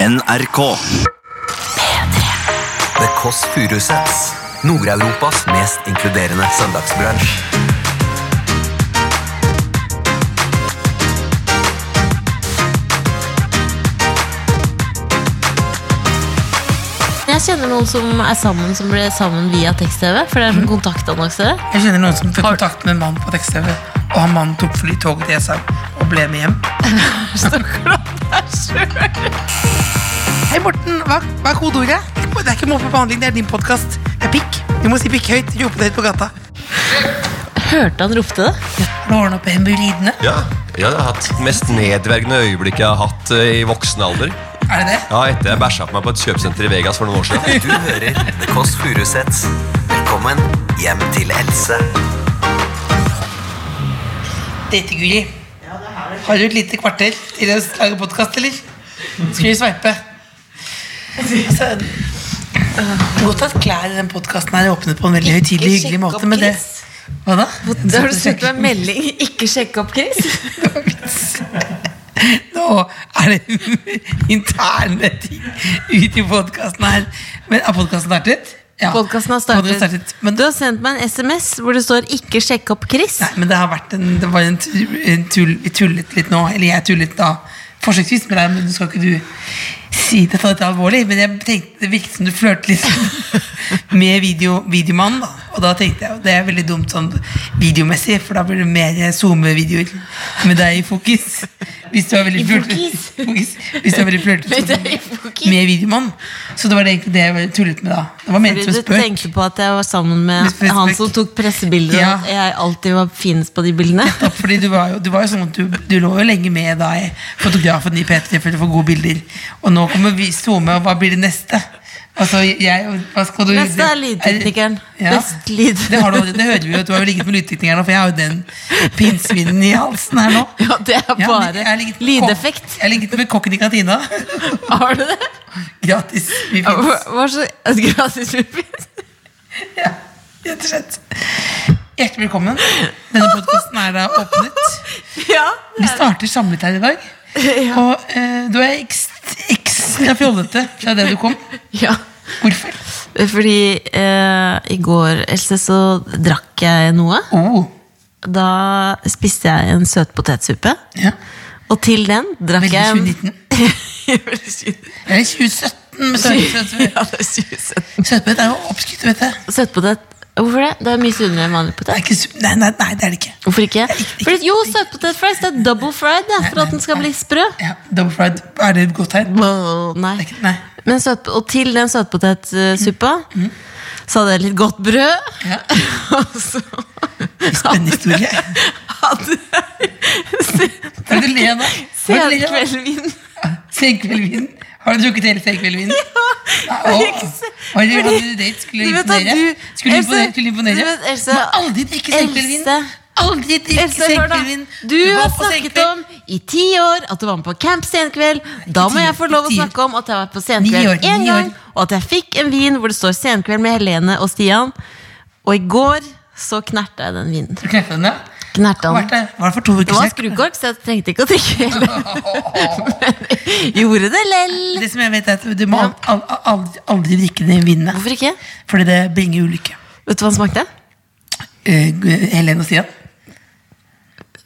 NRK. The Kåss Furuseths. Nord-Europas mest inkluderende søndagsbransj. Jeg kjenner noen som er sammen som ble sammen via tekst-TV. For det er sånn kontaktannonse. Jeg kjenner noen som tok kontakt med en mann på tekst-TV, og han mannen tok fly toget til Esau og ble med hjem. Hei, Morten. Hva, hva er kodeordet? Det er ikke mobbe på handling, det er din podkast. Det er pikk. Du må si pikk høyt. Rope det høyt på gata. Hørte han ropte det? Har du ordnet opp i hemoroidene? Ja, ja, det har hatt mest nedverdigende øyeblikket jeg har hatt eh, i voksen alder. Er det det? Ja, Etter jeg bæsja på meg på et kjøpesenter i Vegas for noen år siden. Du hører The Kåss Furuseths. Velkommen hjem til Else. Dette, Guri. Har du et lite kvarter til å lage podkast, eller? Skal vi sveipe? Altså, godt at klær i den podkasten er åpnet på en veldig høytidelig, sjekk hyggelig opp måte. Men det, Chris. hva da? Da har du sendt meg en melding. Ikke sjekke opp, Chris. Nå er det interne ting ut i podkasten her. Men Er podkasten startet? Ja. Podkasten har Podden startet. Men, Du har sendt meg en SMS hvor det står 'ikke sjekk opp, Chris'. nei, men det har vært en, det var en, tu- en tull, Vi tullet litt nå. Eller jeg tullet da forsøksvis med deg, men du skal ikke du si det, ta dette alvorlig. Men jeg tenkte det virket som du flørte litt med video, videomannen. da Og da tenkte jeg det er veldig dumt sånn videomessig, for da blir det mer SoMe-videoer med deg i fokus. Hvis du er veldig I flørt- fokus? fokus. Hvis du er veldig flørtete. Med deg i fokus. med videomann. Så det var det egentlig det jeg var- tullet med da. Det var ment Fordi som du spøk. tenkte på at jeg var sammen Med med spøk. han som tok pressebilder, Ja. og at jeg alltid var finest på de bildene. Ja, Fordi du var, jo, du var jo sånn at du, du lå jo lenge med da jeg fotografen i P3 for å få gode bilder. Og nå kommer vi SoMe, og hva blir det neste? Altså, jeg, hva skal du Neste er lydteknikeren. Ja. Best lyd. Det, har du, det hører vi jo, du har jo ligget med lydteknikeren nå, for jeg har jo den pinnsvinen i halsen her nå. Ja, det er Ja, bare jeg har ligget med kokk- lydeffekt. Jeg har ligget med kokken i kantina. Har du det? Gratis. Vi Ja, finnes. hva- Hva så gratis vi finnes? Ja, rett og slett. Hjertelig velkommen. Denne podkasten er da åpnet. Ja. Vi starter samlet her i dag. Og eh, du er ekstra, ekstra fjollete fra det du kom. ja. Hvorfor? Fordi eh, i går, Else, så drakk jeg noe. Oh, Da spiste jeg en søt potetsuppe. ja. Og til den drakk Veldig jeg en- 2019. Veldig 2019. Eller 2017 med søtpotet. Ja, det er 2017. Søtpotet er jo oppskrytt, vet du. Søtpotet. Hvorfor det? Det er mye sunnere enn vanlig Det potet. er ikke, su- nei, nei, nei, det er det ikke. Hvorfor ikke? Fordi, jo, søtpotet fries. Det er double fried det, er for at den skal bli sprø. Ja, Double fried, er det et godt tegn? Wow, Nei. Det er ikke- Nei. Men søt, og til den søtpotetsuppa så hadde jeg litt godt brød. Ja. Og så Spennende historie. hadde jeg sen- Hva er det du ler av nå? Hva er det du ler av? senkveldvin. Senkveldvin. Har du drukket hele senkveldvinen? Nei, å, Ikke se- Har du, fordi- hadde du date? Skulle Du du vet at imponere? du- skulle Else, du imponere? Skulle du imponere? du vet, Else, Men aldri drikke senkvelvin. Else. Aldri drikke Else, hør da. senkvelvin. Du var har på snakket senkveld. om i ti år at du var med på camp senkveld. Da må ti jeg år, få lov å ti år. snakke om at jeg var på Ni senkveld år, én ni gang, år. og at jeg fikk en vin hvor det står senkveld med Helene og Stian. Og i går så knerta jeg den vinen. Du kneppet den, ja? Knerta Var den. det, var det for to Det uker var siden? skrukort, så jeg trengte ikke å drikke hele. Men gjorde det lell. Det som jeg vet er at Du må al- al- al- aldri, aldri drikke de vinene. Hvorfor ikke? Fordi det bringer ulykke. Vet du hva den smakte? Eh, Helene og Stian.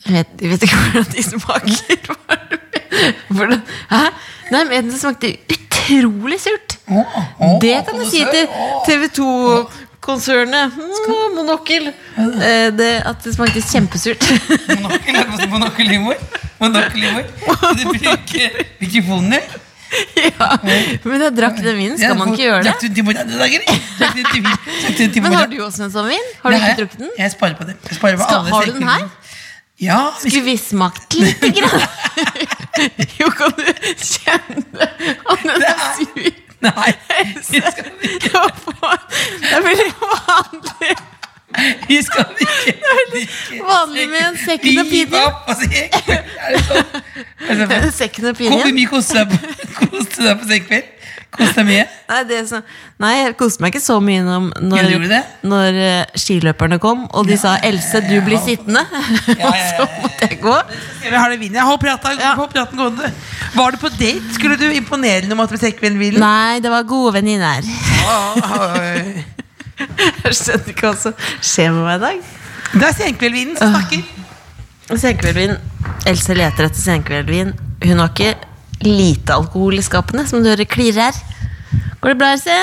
Jeg vet, jeg vet ikke hvordan de smaker. Hvordan? Hæ? Nei, men den smakte utrolig surt. Det kan du si til TV 2-konsernet. Mm, monokkel. Eh, Det, at det smakte kjempesurt. Monokkel er også monokkelhumor. Monokkelhumor. Du bruker mikrofoner. Ja. Men jeg drakk den vinen. Skal man ikke gjøre Drakk det? du en time alle dager? Drakk du en time- drakk du en time Men har alle- du også en sånn vin? Har du Nei, ikke drukket den? Jeg sparer på det. Jeg sparer på Skal- alle har du den her? sekkene. Ja. hvis- Skulle vi smakt lite grann? Jo, kan du kjenne at den er sur? Nei. Vi skal, Det var på- det er veldig vanlig. vi skal ikke drikke vanlig med en second opinion. Hiv opp og sekk. Er det sånn? Er det sånn? Second Hvor opinion. mye koser jeg på? Koste du deg på senkveld? Koste deg mye? Nei, det som, nei, jeg koste meg ikke så mye når, når, Gjorde du det? når eh, skiløperne kom, og de sa 'Else, du blir sittende'. ja, ja, Og så måtte jeg gå. Eller har det vinn? Jeg håper praten, Ja. håper praten gående. Var du på date? Skulle du imponere noe med at du fikk vindbilen? Nei, det var gode venninner. Jeg skjønner ikke hva som skjer med meg i dag. Det er senkveldvinen som snakker. Senkveldvin. Else leter etter senkveldvin. Hun har ikke lite alkohol i skapene, som du hører klirrer her. Går det bra, Else?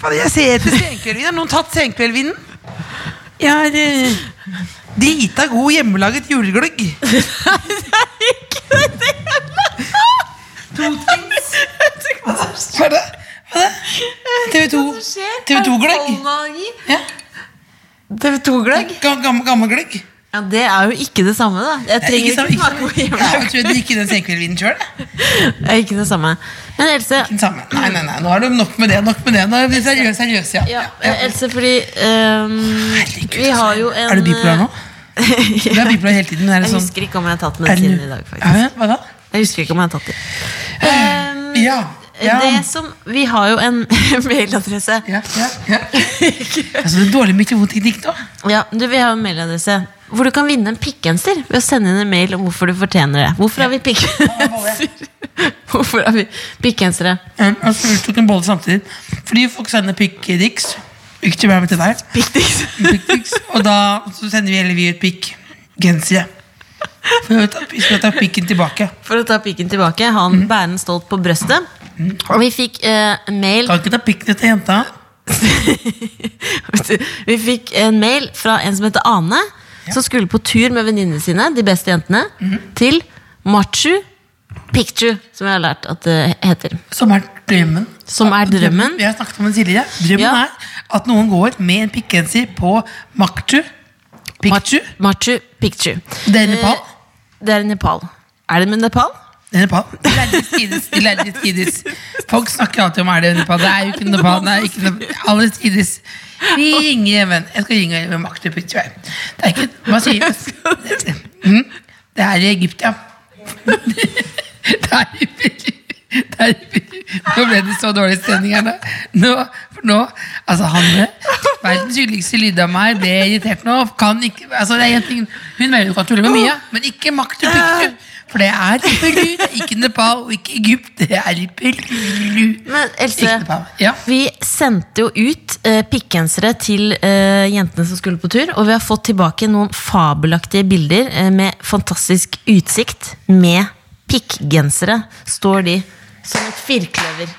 Faen, jeg ser etter senkveldvin. Har noen tatt senkveldvinen? Jeg har eh, drita god hjemmelaget julegløgg. To things. Hva er det? Hva er det? TV2. TV2-gløgg. Ja. TV2-gløgg? Ga- gam- Gammel gløgg. Ja, Det er jo ikke det samme, da. Jeg Nei, trenger ikke ikke, sam- ikke- smake på hjemme. Ja, Jeg tror jeg drikker den senkveldvinen sjøl. Det er ikke det samme. Men Else, Den samme. Nei, nei, nei, nå er det nok med det. nok med det Nå er det seriøs, seriøs, ja. ja, Else fordi ehm, Herregud, vi har jo en eh, Er du bipolar nå? Du er bipolar hele tiden. men Er det Jeg sånn husker ikke om jeg har tatt er det medisinen nu- i dag, faktisk. Ja, ja, hva da? Jeg husker ikke om jeg har tatt det. Ehm, Ja. Ja. Det som, vi har jo en mailadresse. Ja, ja, ja. Altså, det er dårlig mye vondt i dikt òg. Ja, du, vi har en mailadresse hvor du kan vinne en pikkgenser ved å sende inn en mail om hvorfor du fortjener det. Hvorfor har vi pikkgenser? Hvorfor har vi pikkgensere? Altså, vi tok en bolle samtidig. Fordi folk sender pikk-dicks. Ikke til meg, men til deg. Pikkdiks. Pikk-dicks. Og da så sender vi heller vi ut pikk-gensere. For vi vet at vi skal ta pikken tilbake. For å ta pikken tilbake. Mm. Han bærer den stolt på brøstet. Og vi fikk eh, mail Kan ikke ta pikken til jenta. Vi fikk en mail fra en som heter Ane, som skulle på tur med venninnene sine, de beste jentene, til Machu Picchu, som jeg har lært at det heter. Som er drømmen. Som er drømmen. Vi har snakket om den tidligere. Drømmen Ja. er at noen går med en pikkgenser på Makchu. Pikchu. Machu Picchu. Det er i Nepal. Eh, Det er i Nepal. Er det med Nepal? Det er Nepal. De lærde tiders, de lærde tiders. Folk snakker alltid om er det Nepal. Det er jo ikke Nepal. Det er ikke Nepal. Alle tiders. Vi ringer hjem, venn. Jeg skal ringe hjem med Makchu Pikchu. jeg. Det er ikke Hva sier jeg? Mm, det er i Egypt, ja. Det er i Egypt. Det er i Egypt. Nå ble det så dårlig stemning her nå. nå. For nå Altså, Hanne, verdens hyggeligste lyd av meg, ble irritert nå. Kan ikke Altså, det er en ting Hun mener du kan tulle med mye, men ikke makt og pikk. For det er i Peru, det er ikke Nepal og ikke Egypt. Det er i Peru. Men Else, Ikke Nepal. Ja. vi sendte jo ut eh, pikkgensere til eh, jentene som skulle på tur, og vi har fått tilbake noen fabelaktige bilder eh, med fantastisk utsikt med pikkgensere, står de som et firkløver.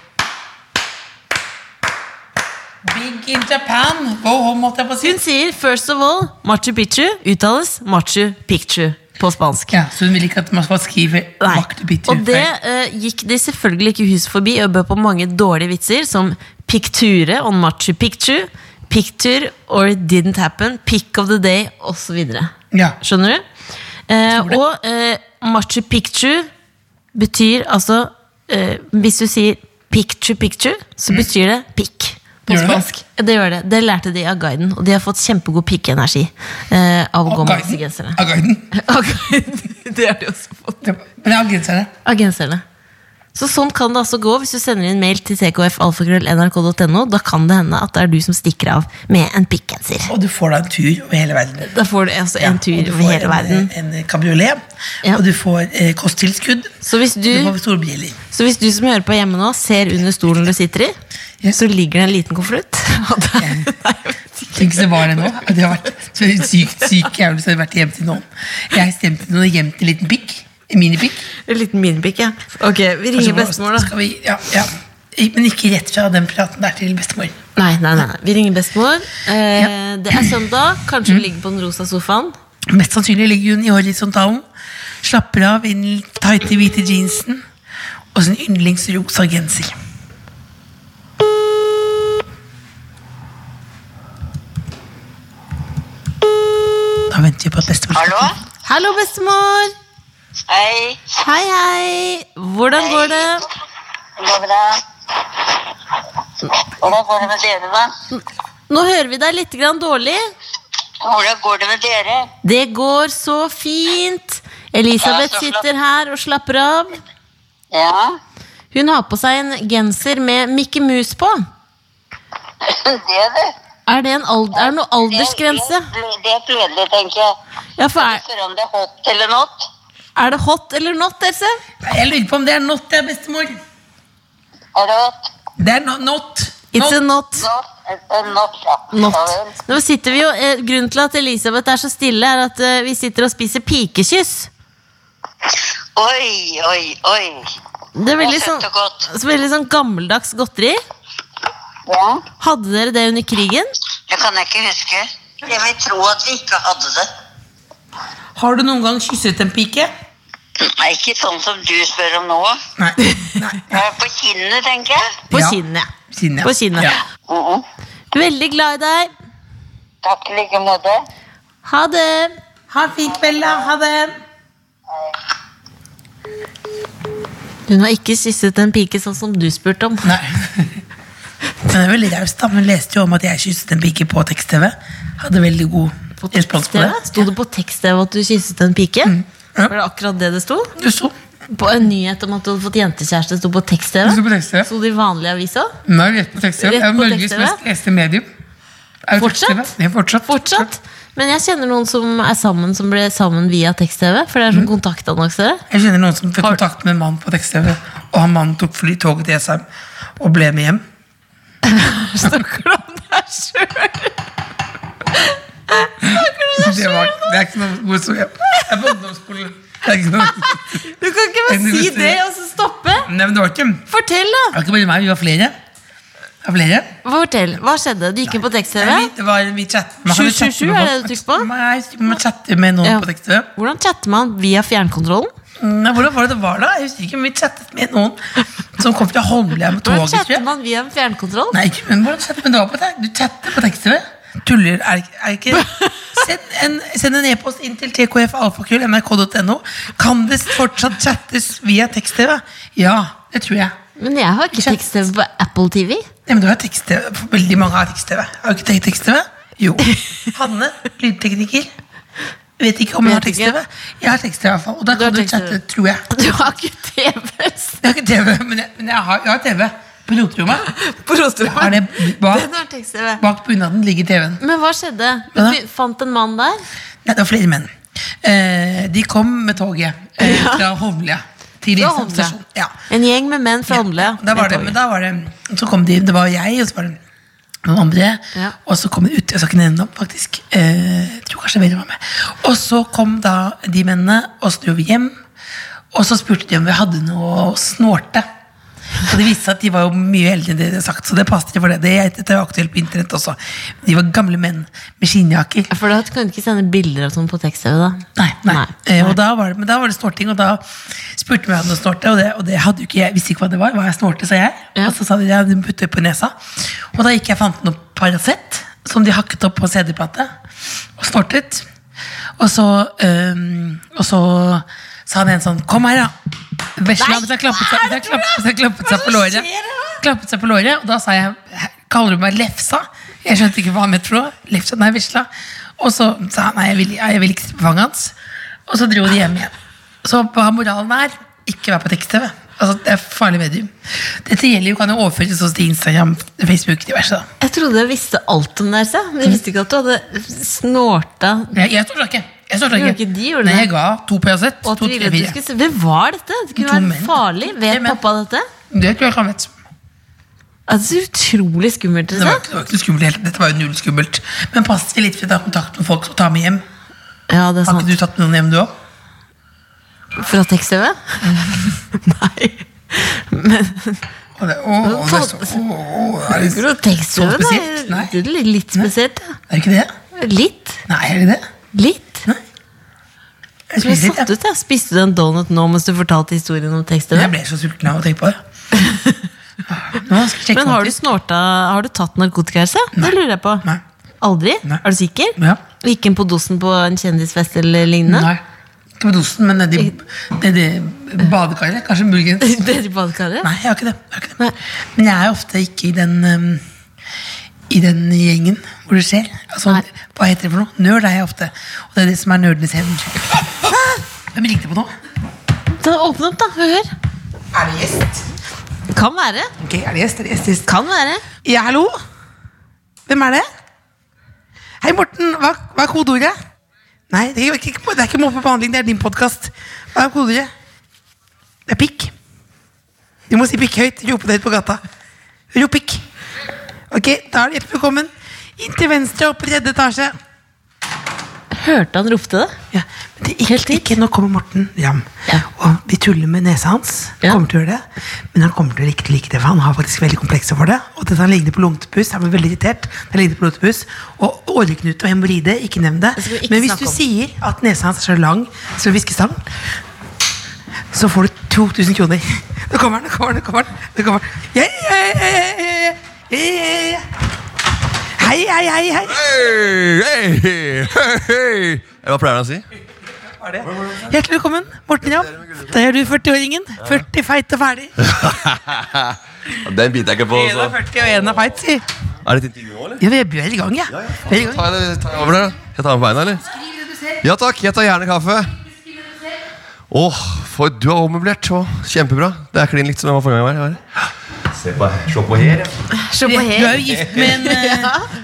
Big in Japan. Go home, måtte jeg på si. Hun sier first of all Machu Picchu uttales Machu Picchu på spansk. Ja, så hun vil ikke at man skal skrive Nei. makt og pikk. Og det eh, gikk de selvfølgelig ikke huset forbi og bød på mange dårlige vitser som Picture on Machu Picchu, Picture or it didn't happen, Pick of the day osv. Ja. Skjønner du? Eh, og eh, Machu Picchu betyr altså eh, Hvis du sier Picchu Picchu, så betyr det pikk. På Mm. Gjør det det? spansk. Det? det gjør det. Det lærte de av guiden, og de har fått kjempegod pikkenergi eh, av å gå Og med disse guiden. genserne. Og guiden. Av guiden. det har de også fått. Ja, Men jeg har gensere. Av genserne. Så sånn kan det altså gå hvis du sender inn mail til tkfalfakrøll.nrk.no. Da kan det hende at det er du som stikker av med en pikkgenser. Og du får da en tur over hele verden. Da får du altså en tur og du over får hele verden. En, en kabriolet, Ja. og du får eh, kosttilskudd. Så hvis du, Du får store biler. så hvis du som hører på hjemme nå, ser under stolen du sitter i, Ja. så ligger det en liten konvolutt. Og det er- Nei, jeg vet ikke. Tenk så var det nå. Det har vært så sykt syk jævlig så det har vært hjem til noen. Jeg stemte noen hjem til en liten pikk. En minipikk. En liten minipikk, ja. Ok, vi ringer bestemor, da. Skal vi, ja, ja. Men ikke rett fra den praten der til bestemor. Nei, nei, nei. nei. Vi ringer bestemor. Eh, det er søndag. Kanskje hun ligger på den rosa sofaen. Mest sannsynlig ligger hun i horisontalen. Slapper av i den tighte hvite jeansen og sin yndlingsrosa genser. Da venter vi på at bestemor Hallo? Hallo, bestemor! Hei. Hei, hei! Hvordan går det? Går det bra? Hvordan går det med dere, da? Nå hører vi deg litt grann dårlig. Hvordan går det med dere? Det går så fint. Elisabeth Ja, så flott. sitter her og slapper av. Ja. Hun har på seg en genser med Mikke Mus på. Det, du. Er det, en ald- er det noe aldersgrense? Det, det, det er gledelig, tenker jeg. Ja, for er, Spør om det er hot eller not. er det hot eller not, Else? Nei, Jeg lurer på om det er not, det er bestemor. Er det hot? Det er no, not. It's a Not. not. Not? Eh, Not, ja. Not. Ja vel. Nå sitter vi jo, eh, grunnen til at Elisabeth er så stille, er at eh, vi sitter og spiser pikekyss. Oi, oi, oi. Det er veldig Det er sånn, søtt og godt. så veldig sånn gammeldags godteri. Ja, Hadde dere det under krigen? det kan jeg ikke huske. Jeg vil tro at vi ikke hadde det. Har du noen gang kysset en pike? Nei, ikke sånn som du spør om nå. Nei. Eh, På kinnet, tenker jeg. På Ja. kinnet. Siden, ja. På kinnet. Ja. Mhm. Veldig glad i deg. Takk i like måte. Ha det. Ha det fint, Bella. Ha det. Hun har ikke kysset en pike sånn som du spurte om. Nei. Men det er veldig raust, da. Hun leste jo om at jeg kysset en pike på tekst-TV. Hadde veldig god respons på det. Mm. Tekst-TV? Sto det på tekst-TV at du kysset en pike? Ja. Var det akkurat det det sto? Du så. På en nyhet om at du hadde fått jentekjæreste sto på tekst-TV? Det sto på tekst-TV. Sto det i vanlige aviser? Nei, rett på tekst-TV. Rett Det er på Norges tekst-TV. mest leste medium. Er det Fortsatt? tekst-TV? Ja, fortsatt. Fortsatt. Men jeg kjenner noen som er sammen Som ble sammen via tekst-TV, for det er sånn Mm. kontaktannonser. Jeg kjenner noen som fikk kontakt med en mann på tekst-TV, og han mannen tok fly toget til Jessheim og ble med hjem. Snakker du om deg sjøl? Det, var, det er ikke noe god historie. Jeg er på ungdomsskolen. Det er ikke noe. Du kan ikke En bare si nyhet. det og så stoppe! Nei, men det var ikke Det Fortell, da! var ikke bare meg, vi var flere. Det var flere. Fortell, Hva skjedde? Du gikk inn på Nei, tekst-TV? vi- Det var en vi chat. man kan jo 777 chatte med er folk. det du trykker på? Nei, man chatter med noen Ja. på tekst-TV. Hvordan chatter man via fjernkontrollen? Nei, hvordan var det det var da? Jeg husker ikke, men vi chattet med noen som kom fra Holmlia Hvordan med toget, tror chatter jeg. man via en fjernkontroll? Nei, ikke, men hvordan chatter men det var på tekst? Du chatter på tekst-TV. Tuller, er det ikke- er det ikke Send en, send en e-post inn til tkfalfakrøll.nrk.no. Kan det fortsatt chattes via tekst-TV? Ja, det tror jeg. Men jeg har ikke Chat. tekst-TV på Apple TV. Nei, men du har tekst-TV. Veldig mange har tekst-TV. Har du ikke tenkt tekst-TV? Jo. Hanne, lydtekniker. Vet ikke om hun Vet har tekst-TV. ikke. Jeg har tekst-TV, i hvert fall. Og da har kan du tekst-TV. chatte, tror jeg. Du har ikke TV Jeg har ikke TV, men jeg, men jeg, har, jeg har TV på roterommet. på rosterommet. Har det bak, Den har tekst-TV. bak bunaden ligger TV-en. Men hva skjedde? Du Hva da? fi- fant en mann der? Nei, det var flere menn. Eh, de kom med toget eh, fra Hovlia Fra til Jessheim Holmlia. stasjon. Ja. En gjeng med menn fra Holmlia. Da var det, men da var det, så kom de, det var jeg, og så var det noen andre, Ja. og så kom de ut, jeg skal ikke nevne dem faktisk, eh, jeg tror kanskje Vera var med. Og så kom da de mennene, og så dro vi hjem, og så spurte de om vi hadde noe å snorte. Og det viste seg at de var jo mye eldre enn det de hadde sagt, så det passet ikke for det. Det er dette er jo aktuelt på internett også. De var gamle menn med skinnjakker. For da kan du ikke sende bilder og sånn på tekst-TV, da. Nei, nei. Nei, Eh, og da var det, men da var det snorting, og da spurte vi om jeg snorte, og det, og det hadde jo ikke jeg, visste ikke hva det var, hva jeg snorte, sa jeg. Ja. Og så sa de ja, du putter på nesa. Og da gikk jeg og fant noe Paracet, som de hakket opp på en CD-plate, og snortet. Og så, øhm, og så sa han en sånn, kom her da. Vesla, hvis jeg klappet seg, hvis jeg klappet, hvis jeg klappet seg på låret. Klappet seg på låret, og da sa jeg, "Hæ, kaller du meg lefsa? Jeg skjønte ikke hva han mente for noe. Lefsa, nei, vesla. Og så sa han, nei, jeg vil, jeg vil ikke sitte på fanget hans. Og så dro de hjem igjen. Så hva moralen er, ikke vær på tekst-TV. Altså, det er farlig medium. Dette gjelder jo, kan jo overføres også til Instagram, Facebook, diverse. da. Jeg trodde jeg visste alt om deg, men jeg visste ikke at du hadde snorta Jeg, jeg står ikke. Jeg står Gjorde ikke. ikke de, gjorde Nei, det? jeg ga to Paracet. og at To, du ville tre, at du fire. skulle se. Hvem var dette? Det kunne To være menn. farlig. Tre Vet menn. pappa dette? Det tror jeg ikke han vet. Det er så utrolig skummelt. Det var, Else. ikke- det var ikke noe skummelt helt. Dette var jo null skummelt. Men pass deg litt for å ta kontakt med folk som tar med hjem. Ja, det er Har sant. ikke du tatt med noen hjem, du òg? Fra tekst-TV? Nei. Å, det- å, å, det er så- å, å, å, er det- Fra tekst-TV, da? spesielt? Nei. Det er litt spesielt, ja. Er det ikke det? Litt. Nei, er det det? Litt. Jeg Jeg ble spiser litt, satt jeg. ut, jeg. Spiste du en donut nå mens du fortalte historien om Jeg tekst-TV? ble så sulten av å tenke på det. Nå skal jeg sjekke Men har du noe. snorta Har du tatt narkotika, Else? Det lurer jeg på. Nei. Aldri? Nei. Er du sikker? Ja. Gikk inn på dosen på en kjendisfest eller lignende? Nei. Ikke på dosen, men nedi, nedi badekaret. Kanskje muligens. Dere i badekaret? Nei, jeg har ikke det. Jeg har ikke det. Men jeg er ofte ikke i den um, i den gjengen hvor det skjer. Altså, Nei. hva heter det for noe? Nerd er jeg ofte. Og det er det som er nerdenes hevn. Hvem ringte på nå? Da, åpne opp, da. Hør. Er det gjest? Kan være. Ok, er det gjest? Er det gjest, gjest? Kan være. Ja, hallo? Hvem er det? Hei, Morten. Hva, hva er kodeordet? Nei, det er ikke, det er ikke mobbe på behandling, det er din podkast. Hva er kodeordet? Det er pikk. Du må si pikk høyt. Rope det høyt på gata. Rop pikk. Ok, da er det hjertelig velkommen. Inn til venstre opp i tredje etasje. Hørte han ropte det? Ja, men det, ikke, Helt dit. ikke, nå kommer Morten Ramm. Ja. Og de tuller med nesa hans. Ja. Kommer til å gjøre det Men han kommer til å ikke like det, for han har faktisk veldig komplekser for det. Og dette han ligner på lungetepuss. Han blir veldig irritert. Han ligner på lungetepuss Og åreknute og hemoroide, ikke nevn det. Det skal Altså, vi ikke Men hvis snakke du om. sier at nesa hans er så lang som en hviskestang, så får du 2000 kroner. Nå kommer han, nå kommer han, nå kommer han. Nå kommer han. Ja, ja, ja, ja, ja, ja, ja, ja, ja. Hei, hei, hei, hei. Hei, hei, hei, hei. Hva pleier han å si? Hjertelig velkommen, Morten Ramm. Da er du 40-åringen. 40 feit og ferdig. Den biter jeg ikke på. altså. En er 40 og en er feit, sier Er det et intervju nå, eller? Ja, vi er- vi er i gang, ja. Vi er i gang. Tar jeg, tar jeg over der, da? Skal jeg ta med på beina, eller? Ja takk, jeg tar gjerne kaffe. Åh, for du har ommøblert. Åh, Kjempebra. Det er klin likt som det var forrige gang. jeg var her. Se på, se på her. Se Du på her. er jo gift med en, eh,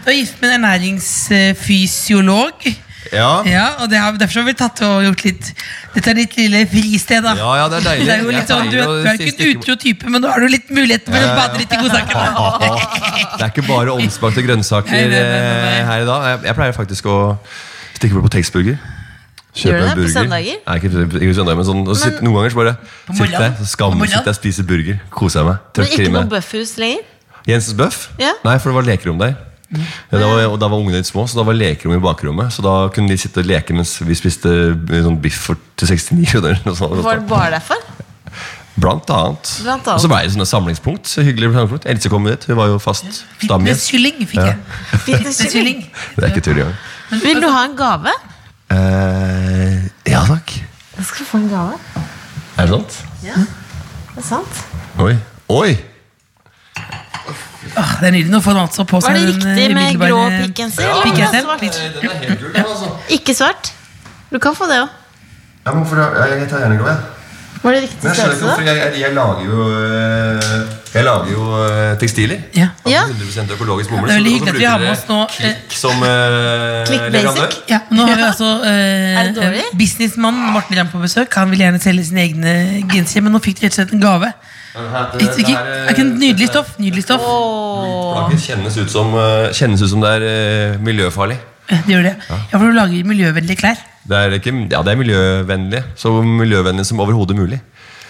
du er gift med en ernæringsfysiolog. Ja. Ja, og det har, Derfor har vi tatt og gjort litt Dette er ditt lille fristed, da. ja, ja, det er deilig. Det er jo Jeg litt sånn, pleier du, er- å du er si ikke en stikke- utro type, men nå har du litt mulighet for å ja, ja. bade litt i godsakene. Det er ikke bare omspakte grønnsaker Nei, nei, nei, nei, nei. eh, her i dag. Jeg, jeg pleier faktisk å stikke på på Gjør Texburger. Kjøpe du en det på burger. søndager? Nei, ikke, ikke på søndag, men sånn, og sitt, noen ganger så bare sitter morgenen? jeg, så skammer På sitter jeg og spiser burger. Koser jeg meg. Men Tørker ikke i noe meg. bøffhus lenger? Jensens Bøff? Ja. Nei, for det var lekerom der. Ja, da var, og da var ungene litt små, så da var lekerom i bakrommet. Så da kunne de sitte og leke mens vi spiste eh, sånn biff for, til 69 kroner. og sånn. Var det bare derfor? Blant annet. Blant annet. Og så ble det sånne samlingspunkt. Så hyggelig samlingspunkt. Else kom dit, hun var jo fast stamgjest. Fitnesskylling fikk jeg. Fitnesskylling. Fitnesskylling. Det er ikke tull engang. Vil du ha en gave? Eh, ja takk. Jeg skal få en gave. Er det sant? Det er sant. Oi. Oi! Åh, Det er nydelig å få en altså på seg Var det den, eh, riktig med umiddelbare- grå pikkenser? Ja. eller var det Pikkenser? svart? Den er helt gul, altså. Ikke svart? Du kan få det òg. Ja, men hvorfor, jeg, jeg tar gjerne grå, jeg. Var det riktig Men jeg skjønner størrelse? ikke hvorfor. da? Jeg, jeg, jeg lager jo, øh, jeg lager jo øh, tekstiler. Ja. Altså Ja. 100 økologisk bomull. Det er veldig så- og hyggelig så at vi bruker har med dere oss nå, eh, Klikk som øh, Klikk Basic. leverandør. Ja, nå har vi altså eh, Er det dårlig? businessmannen Morten Ramm på besøk. Han vil gjerne selge sine egne gensere, men nå fikk de rett og slett en gave. Eh, Det eh, Ikke, ikke, er ikke en nydelig stoff? Nydelig stoff. Plagget kjennes ut som, øh, kjennes ut som det er øh, miljøfarlig. Eh, Det gjør det. Ja, for du lager miljøvennlige klær. Det er, ikke, ja, det er miljøvennlig. Så miljøvennlig som overhodet mulig.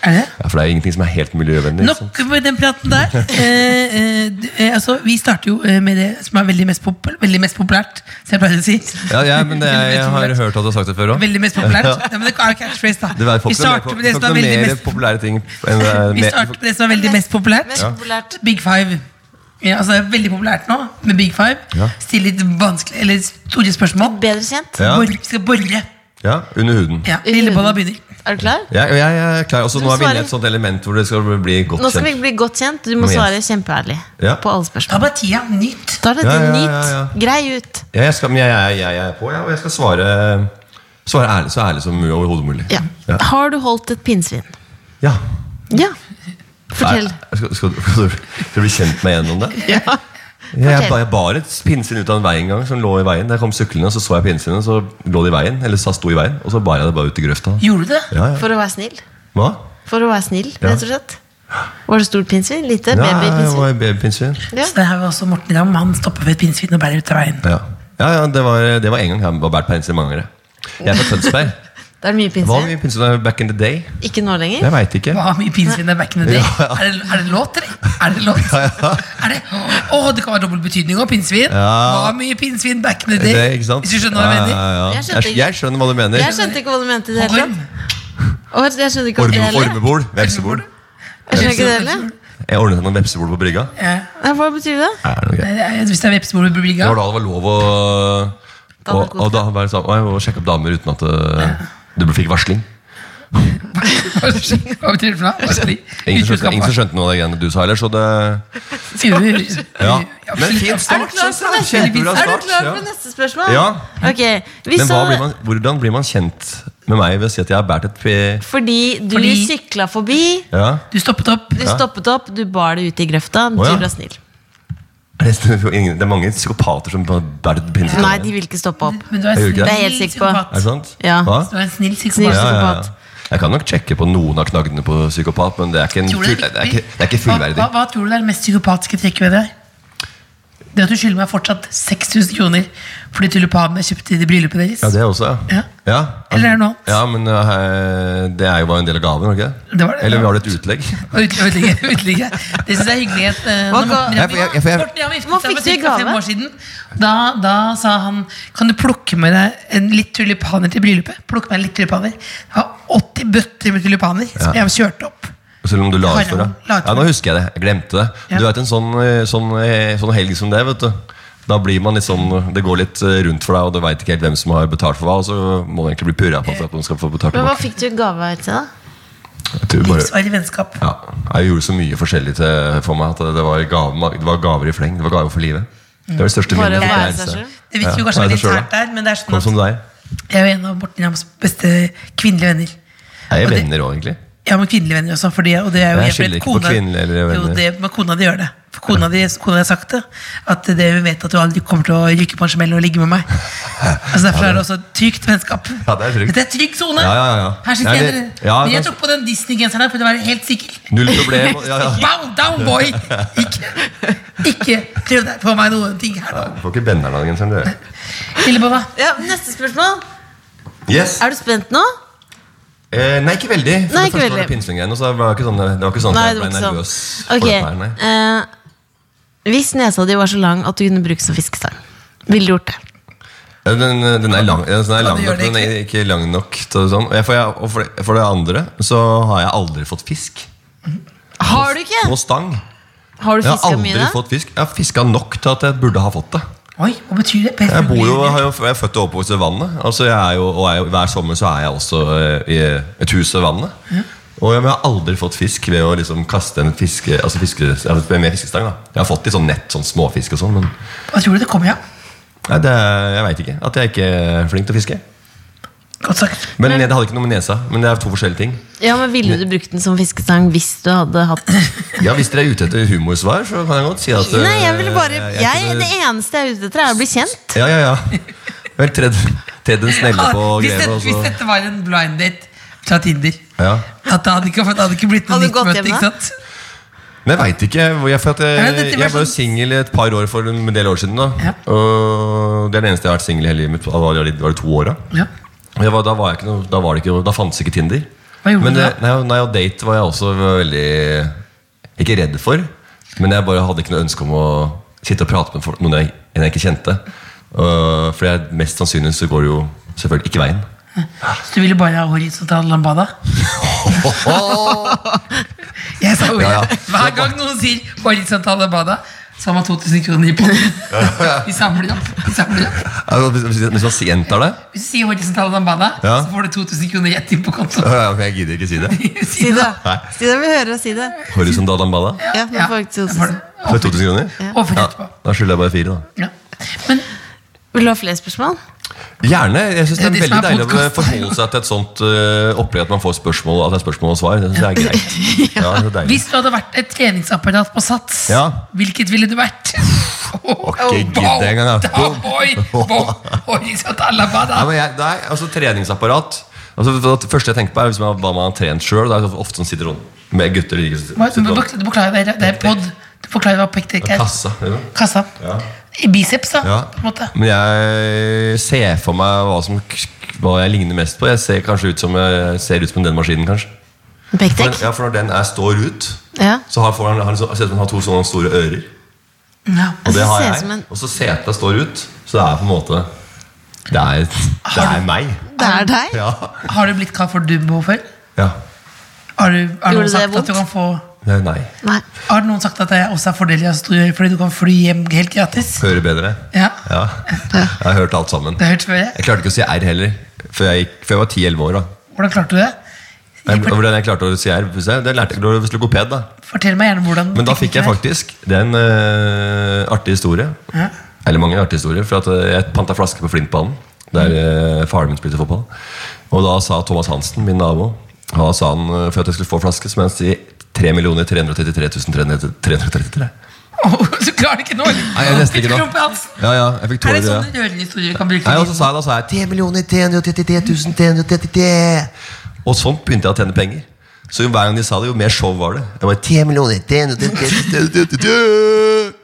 Er det? det? Ja, For det er ingenting som er helt miljøvennlig. ikke sant? Nok med den praten der. Eh, eh, d- eh, altså, vi starter jo eh, med det som er veldig mest, popul veldig mest populært, som jeg pleier å si. Ja, ja, men det, jeg, jeg har hørt at du har sagt det før òg. Veldig mest populært. Nei, men det er catchphrase, da. Det er Vi starter med det som er veldig mer mest populære ting enn det er Vi mer- starter med det som er veldig mest populært. Mest populært. Big Five. Ja, altså det er veldig populært nå med Big Five. Ja. Stille litt vanskelig, eller store spørsmål. Bedre kjent. Ja. Bor, vi skal borre. Ja, under huden. Ja, Lillebolla begynner. Er du klar? Jeg, jeg er klar. Også, nå er vi inne i et svarer. sånt element hvor det skal bli godt Nå skal vi kjent. bli godt kjent. Du må Kom igjen. svare kjempeærlig Ja. på alle Ta spørsmål. bare tida. Nytt. Da er det Ja, din ja, nytt. ja, ja. Grei ut. Ja, jeg skal, men jeg, jeg, jeg, jeg er på, ja, og jeg skal svare, svare ærlig, så ærlig som mul- overhodet mulig. Ja. Ja. Har du holdt et pinnsvin? Ja. Ja. Fortell. Nei, Skal, skal, skal, du- skal du bli kjent meg gjennom det? Ja. Jeg, Fortell. ba- jeg bar et pinnsvin ut av en vei en gang, som lå i veien. Da jeg kom syklende, så så jeg pinnsvinet, så lå det i veien, eller så sto i veien, og så bar jeg det bare ut i grøfta. Gjorde du det? Ja, ja. For å være snill. Hva? For å være snill, Ja. rett og slett. Var det stort pinnsvin? Lite? Ja, jeg Babypinnsvin? var et babypinnsvin. Ja. Så det her var også Morten Ramm. Han stopper ved et pinnsvin og bærer ut av veien. Ja, ja, ja det, var, det var en gang jeg var bært på eneste mangere. Jeg er fra Tønsberg. Det er mye Det var mye pinnsvin. pinnsvin back in the day. Ikke nå lenger. Jeg veit ikke. Hva mye pinnsvin det er back in the day? Ja, ja. Er, det, er det låt, eller? Er det låt? Er det, å, det kan være dobbel betydning òg. Pinnsvin. Ja. Hva mye pinnsvin back in the Det, day? ikke sant? Hvis du skjønner hva jeg Ja, mener? ja, ja. Jeg skjønte Jeg, ikke. jeg skjønner hva du mener. Jeg skjønte ikke hva du mente i det hele Orm. tatt. Og Jeg skjønte ikke hva Orme, jeg heller. ormebol, vepsebol. Jeg skjønner ikke det heller. Jeg ordnet meg en vepsebol på brygga. Ja. Nei, Hva betyr det? Er det noe greit? Nei, det er- Hvis det er vepsebol ved Det Bulgaria var da det var lov å, å, å, da, være sammen- å, jeg må sjekke opp damer uten at uh, du fikk varsling. Hva betyr det for noe? Hva er det? Ingen som skjønte, ingen som skjønte noe av de greiene du sa heller, så det Utskjønner. ja. Absolutt. Men fin Er du start, klar syns for jeg. neste, er Kjempebra du start. klar ja. for neste spørsmål? Ja. Ok, vi Men så hva blir man, hvordan blir man kjent med meg ved å si at jeg har båret et p... Fordi du Fordi- sykla forbi, Ja. Du stoppet opp. du Ja. stoppet opp, du bar det ut i grøfta. Du Å, ja. ble snill. Det er mange psykopater som bare bærer et pinnsvin. Nei, de vil ikke stoppe opp. Men du er, Jeg gjorde ikke det. Det er jeg helt sikker på. Er det sant? Ja. Hva? Du er en snill Snill. psykopat. Ja, ja, ja. psykopat. Jeg kan nok sjekke på noen av knaggene på psykopat, men det er ikke, en Tror du full, det er ikke, det er ikke fullverdig. Hva, hva, hva tror du er det mest psykopatiske trekket ved det? Det at du skylder meg fortsatt 6000 kroner for de tulipanene jeg kjøpte i det bryllupet deres. Ja, det også, ja. Ja. Eller er det noe annet? Ja, men eh, det er jo bare en del av gaven, var det ikke Det var det. Eller vi har det et utlegg. Og ut- Uteligge. uteligge. Det syns jeg er hyggelig. At, eh, Hva når ga- Morten Jeg- jeg- jeg- Morten jeg- Ramm giftet Hva seg fikk for du i cirka gave? fem år siden. Da, da sa han Kan du plukke med deg en litt tulipaner til bryllupet? Plukke med deg litt tulipaner Jeg har 80 bøtter med tulipaner som jeg har kjørt opp. Selv om du la Har ut for det. han la ut Ja, for nå det? husker jeg det. Jeg glemte det. Ja. Du vet en sånn, eh, sånn, eh, sånn helg som det, vet du. Da blir man litt sånn, Det går litt eh, rundt for deg, og du veit ikke helt hvem som har betalt for hva. Og så må du egentlig bli purra på for at man skal få betalt Men hva tilbake. fikk du i gave til, da? Jeg tror bare, Livsvarig vennskap. ja, jeg gjorde så mye forskjellig til, for meg at det var, gave, det var gaver i fleng. Det var gaver for livet. Det var det største Bare minnet. å være seg det eneste. selv. Det virker jo Ja, kanskje være litt seg selv, internt der, men det er Sånn som sånn at deg. jeg er jo en av Morten Rams beste kvinnelige venner. Og Jeg er det- venner òg, egentlig. Ja, men kvinnelige venner også. Fordi, og det er jo Jeg jeg skiller vet ikke på kona- kvinnelige eller venner. Jo, det, men kona di gjør det. For kona di kona di har sagt det. At det hun vet at du aldri kommer til å ryke på en smell og ligge med meg. Altså Derfor er det også et trygt vennskap. Ja, det er trygt. Dette er trygg sone! Ja, ja, ja. Her Ja, sitter jeg det- dere. ja, Men jeg kanskje- tok på den Disney-genseren her for å være helt sikker. Null problem. Ja, ja. Bow down, boy! Ikke, ikke prøv deg på meg noen ting her nå. Du får ikke benderen av den genseren, du. Lillebobba, Ja, Neste spørsmål. Yes. Er du spent nå? Eh, nei, ikke veldig. For Nei, det ikke første var veldig. det pinnsvingreiene, og så var det ikke sånn, det var ikke sånn at Nei, jeg det ble var ikke nervøs. sånn. for Ok, dette her, nei. eh, Hvis nesa di var så lang at du kunne bruke som fiskestang, ville du gjort det? Ja, Den, eh, den er lang, ja, den er lang du gjør nok, det men den er ikke lang nok. Til sånn. Og jeg- for, jeg, og for, det, for det andre så har jeg aldri fått fisk Har du ikke? på stang. Har du Jeg har fiska mye? aldri da? fått fisk Jeg har fiska nok til at jeg burde ha fått det. Oi, hva betyr det? Jeg, bor jo, har jo, jeg er født og oppvokst ved vannet. Altså jeg er jo, og er jo, hver sommer så er jeg også eh, i et hus ved vannet. Og jeg har aldri fått fisk ved å liksom kaste en fiske, altså fiske, altså med fiskestang. da Jeg har fått litt sånn nett, sånn småfisk og sånn, men Hva tror du det kommer av? nei, det, er- jeg veit ikke. At jeg ikke er flink til å fiske. Godt sagt. Men Det hadde ikke noe med nesa, men det er to forskjellige ting. Ja, men Ville du brukt den som fiskestang hvis du hadde hatt Ja, Hvis dere er ute etter humorsvar, så kan jeg godt si at eh, Nei, jeg ville bare jeg, kunne- Det eneste jeg er ute etter, er å bli kjent. Ja, ja, ja. Vel, tredd, tredd en snelle på hvis, grevet, dette, og hvis så dette var en blind date fra Tinder Ja. At det hadde ikke, det hadde ikke blitt noe Hadde nytt gått møte, hjem ikke da? sant? Men jeg veit ikke. hvor Jeg, for at Ja, jeg, dette var jeg var jo sånn- singel i et par år for en del år siden. da Ja. Og Det er det eneste jeg har vært singel i hele livet mitt. Da var det, var det to år, da. Ja. Og jeg var, da, var jeg ikke noe, da, var det ikke, da fantes ikke Tinder. Hva gjorde men du da? det- Nei, nei, og date var jeg også veldig Ikke redd for, men jeg bare hadde ikke noe ønske om å sitte og prate med folk, noen jeg, en jeg ikke kjente. Uh, for jeg, mest sannsynlig så går det jo selvfølgelig ikke veien. Så du ville bare ha horisontal lambada? Jeg sa ordet. Ja, ja. Hver gang noen sier horisontal lambada, så har man 2000 kroner i potten. Vi samler opp. Vi samler opp. Altså, Hvis, hvis, hvis man gjentar det Hvis du sier horisontal lambada, Ja. så får du 2000 kroner rett inn på kontoen. Ja, men Jeg gidder ikke si det. Si det. Nei. Si det, Vi hører og si det. Horisontal lambada Ja, nå får jeg ikke da får til du å- for 2000 kroner. Overført Ja, etterpå. da skylder jeg bare fire, da. Ja. Men Vil du ha flere spørsmål? Gjerne. jeg synes Det er De som veldig er deilig å podcast. forholde seg til et sånt eh, opplegg at man får spørsmål at det er spørsmål og svar. Det synes jeg er greit. Ja, det er deilig. hvis du hadde vært et treningsapparat på sats, Ja. hvilket ville du vært? Oh, gidd det engang, da. Boom. boy, boom, horisontal Nei, lambada. men jeg, nei, altså treningsapparat altså, for Det første jeg tenker på, er hvis man, hva man har trent sjøl. Det er ofte sånn sitter rundt med gutter. De, Hva- sitter Du må- rundt. du forklarer det, det er pod. Du forklarer hva pekktrekk er. Kassa. Ja. Kassa. Ja. I biceps, da. Ja. På en måte. Men jeg ser for meg hva, som, hva jeg ligner mest på. Jeg ser kanskje ut som, jeg ser ut som den maskinen, kanskje. For, den- Pektek? ja, for når den er, står ut, Ja. så har foran, han, ser ut som han har to sånne store ører. Ja. Og det Jeg har Altså, ser jeg. som en- Og så setet står ut. Så det er på en måte Det er, det er meg. Det er deg? Ja. Har du blitt kalt for dumbo før? ja. Har, du, har, Gjorde noen det sagt at vondt? du kan få, Det er nei. Nei. har noen sagt at det også er fordeler av store ører fordi du kan fly hjem helt gratis? Hører bedre. Ja. Ja. Jeg har hørt alt sammen. Det har jeg hørt før. jeg. Jeg klarte ikke å si R heller, før jeg, gikk, før jeg var 10-11 år. da Hvordan klarte du det? jeg, Hvordan jeg klarte å si R, hvis jeg- det lærte jeg ikke hos logoped. da Fortell meg gjerne hvordan Men da fikk jeg teknikken faktisk Det er en øh, artig historie. Ja. eh, Mm. Eller mange artige historier. For at øh, jeg panta flaske på Flintbanen, der øh, faren min eh, spilte fotball. Og da sa Thomas Hansen, min nabo Han sa han eh, for at jeg skulle få flaske, så må jeg si 3 333 333. Åh, så klarer du ikke nå, eller? Nei, jeg leste ikke nå. Krumpe Hansen. Ja, ja, jeg fikk Er tårer det i sånne øyet. røverhistorier du kan bruke? Nei, og så sa jeg da sa jeg 10 333 333 Og sånn begynte jeg å tjene penger. Så jo hver gang de sa det, jo mer show var det. Jeg bare, 10 333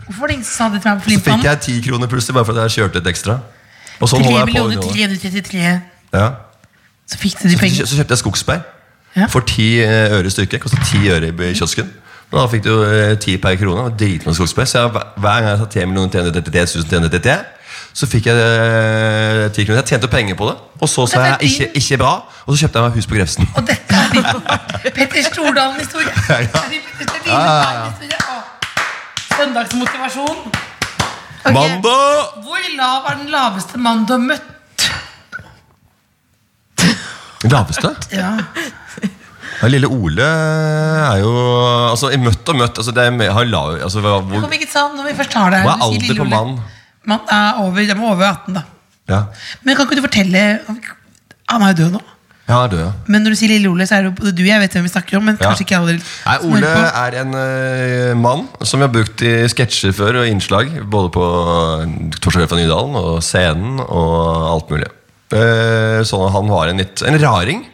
Hvorfor var det ingen som sa det til meg på Så fikk Flimpland? jeg 10 kroner plutselig bare for at jeg kjørte litt ekstra. Og sånn 3 holder jeg på. i noen år. 333 Ja. Så fikk du de Så kjø- pengene. så kjøpte jeg skogsbær Ja. for ti eh, øre stykket. Kosta ti øre i b- kiosken. Og da fikk du eh, ti per krone. og Dritmange skogsbær. Så jeg, hver- hver gang jeg sa 10 millioner 333 000 333, så fikk jeg eh, 10 kroner. Jeg tjente penger på det. Og så sa Dette er jeg ikke, din- ikke bra, og så kjøpte jeg meg hus på Grefsen. Og dette er din Petter Stordalen-historie. Ja, Det ja. er din Petter Ja, ja, ja. Stordalen-historie. Åh, Søndagsmotivasjon. Mandag! Hvor lav er den laveste mannen du har møtt? Laveste? Ja. Ja, lille Ole er jo Altså, i møtt og møtt altså, det er, mer- har lav, altså, hva, hvor, Kom ikke sant, når vi først har det her, Hva du er sier alder lille på Ole. mann? Man er over, de er over 18, da. Ja, Men kan ikke du fortelle kan ikke- Han er jo død nå. ja han er død, ja. Men når du sier Lille Ole, så er det jo både du og jeg vet hvem vi snakker om. Men Ja. kanskje ikke alle Nei, som Ole hører på. er en eh, mann som vi har brukt i sketsjer før og innslag. Både på eh, Torsdag kveld fra Nydalen og scenen og alt mulig. Eh, sånn at Han var en, litt, en raring.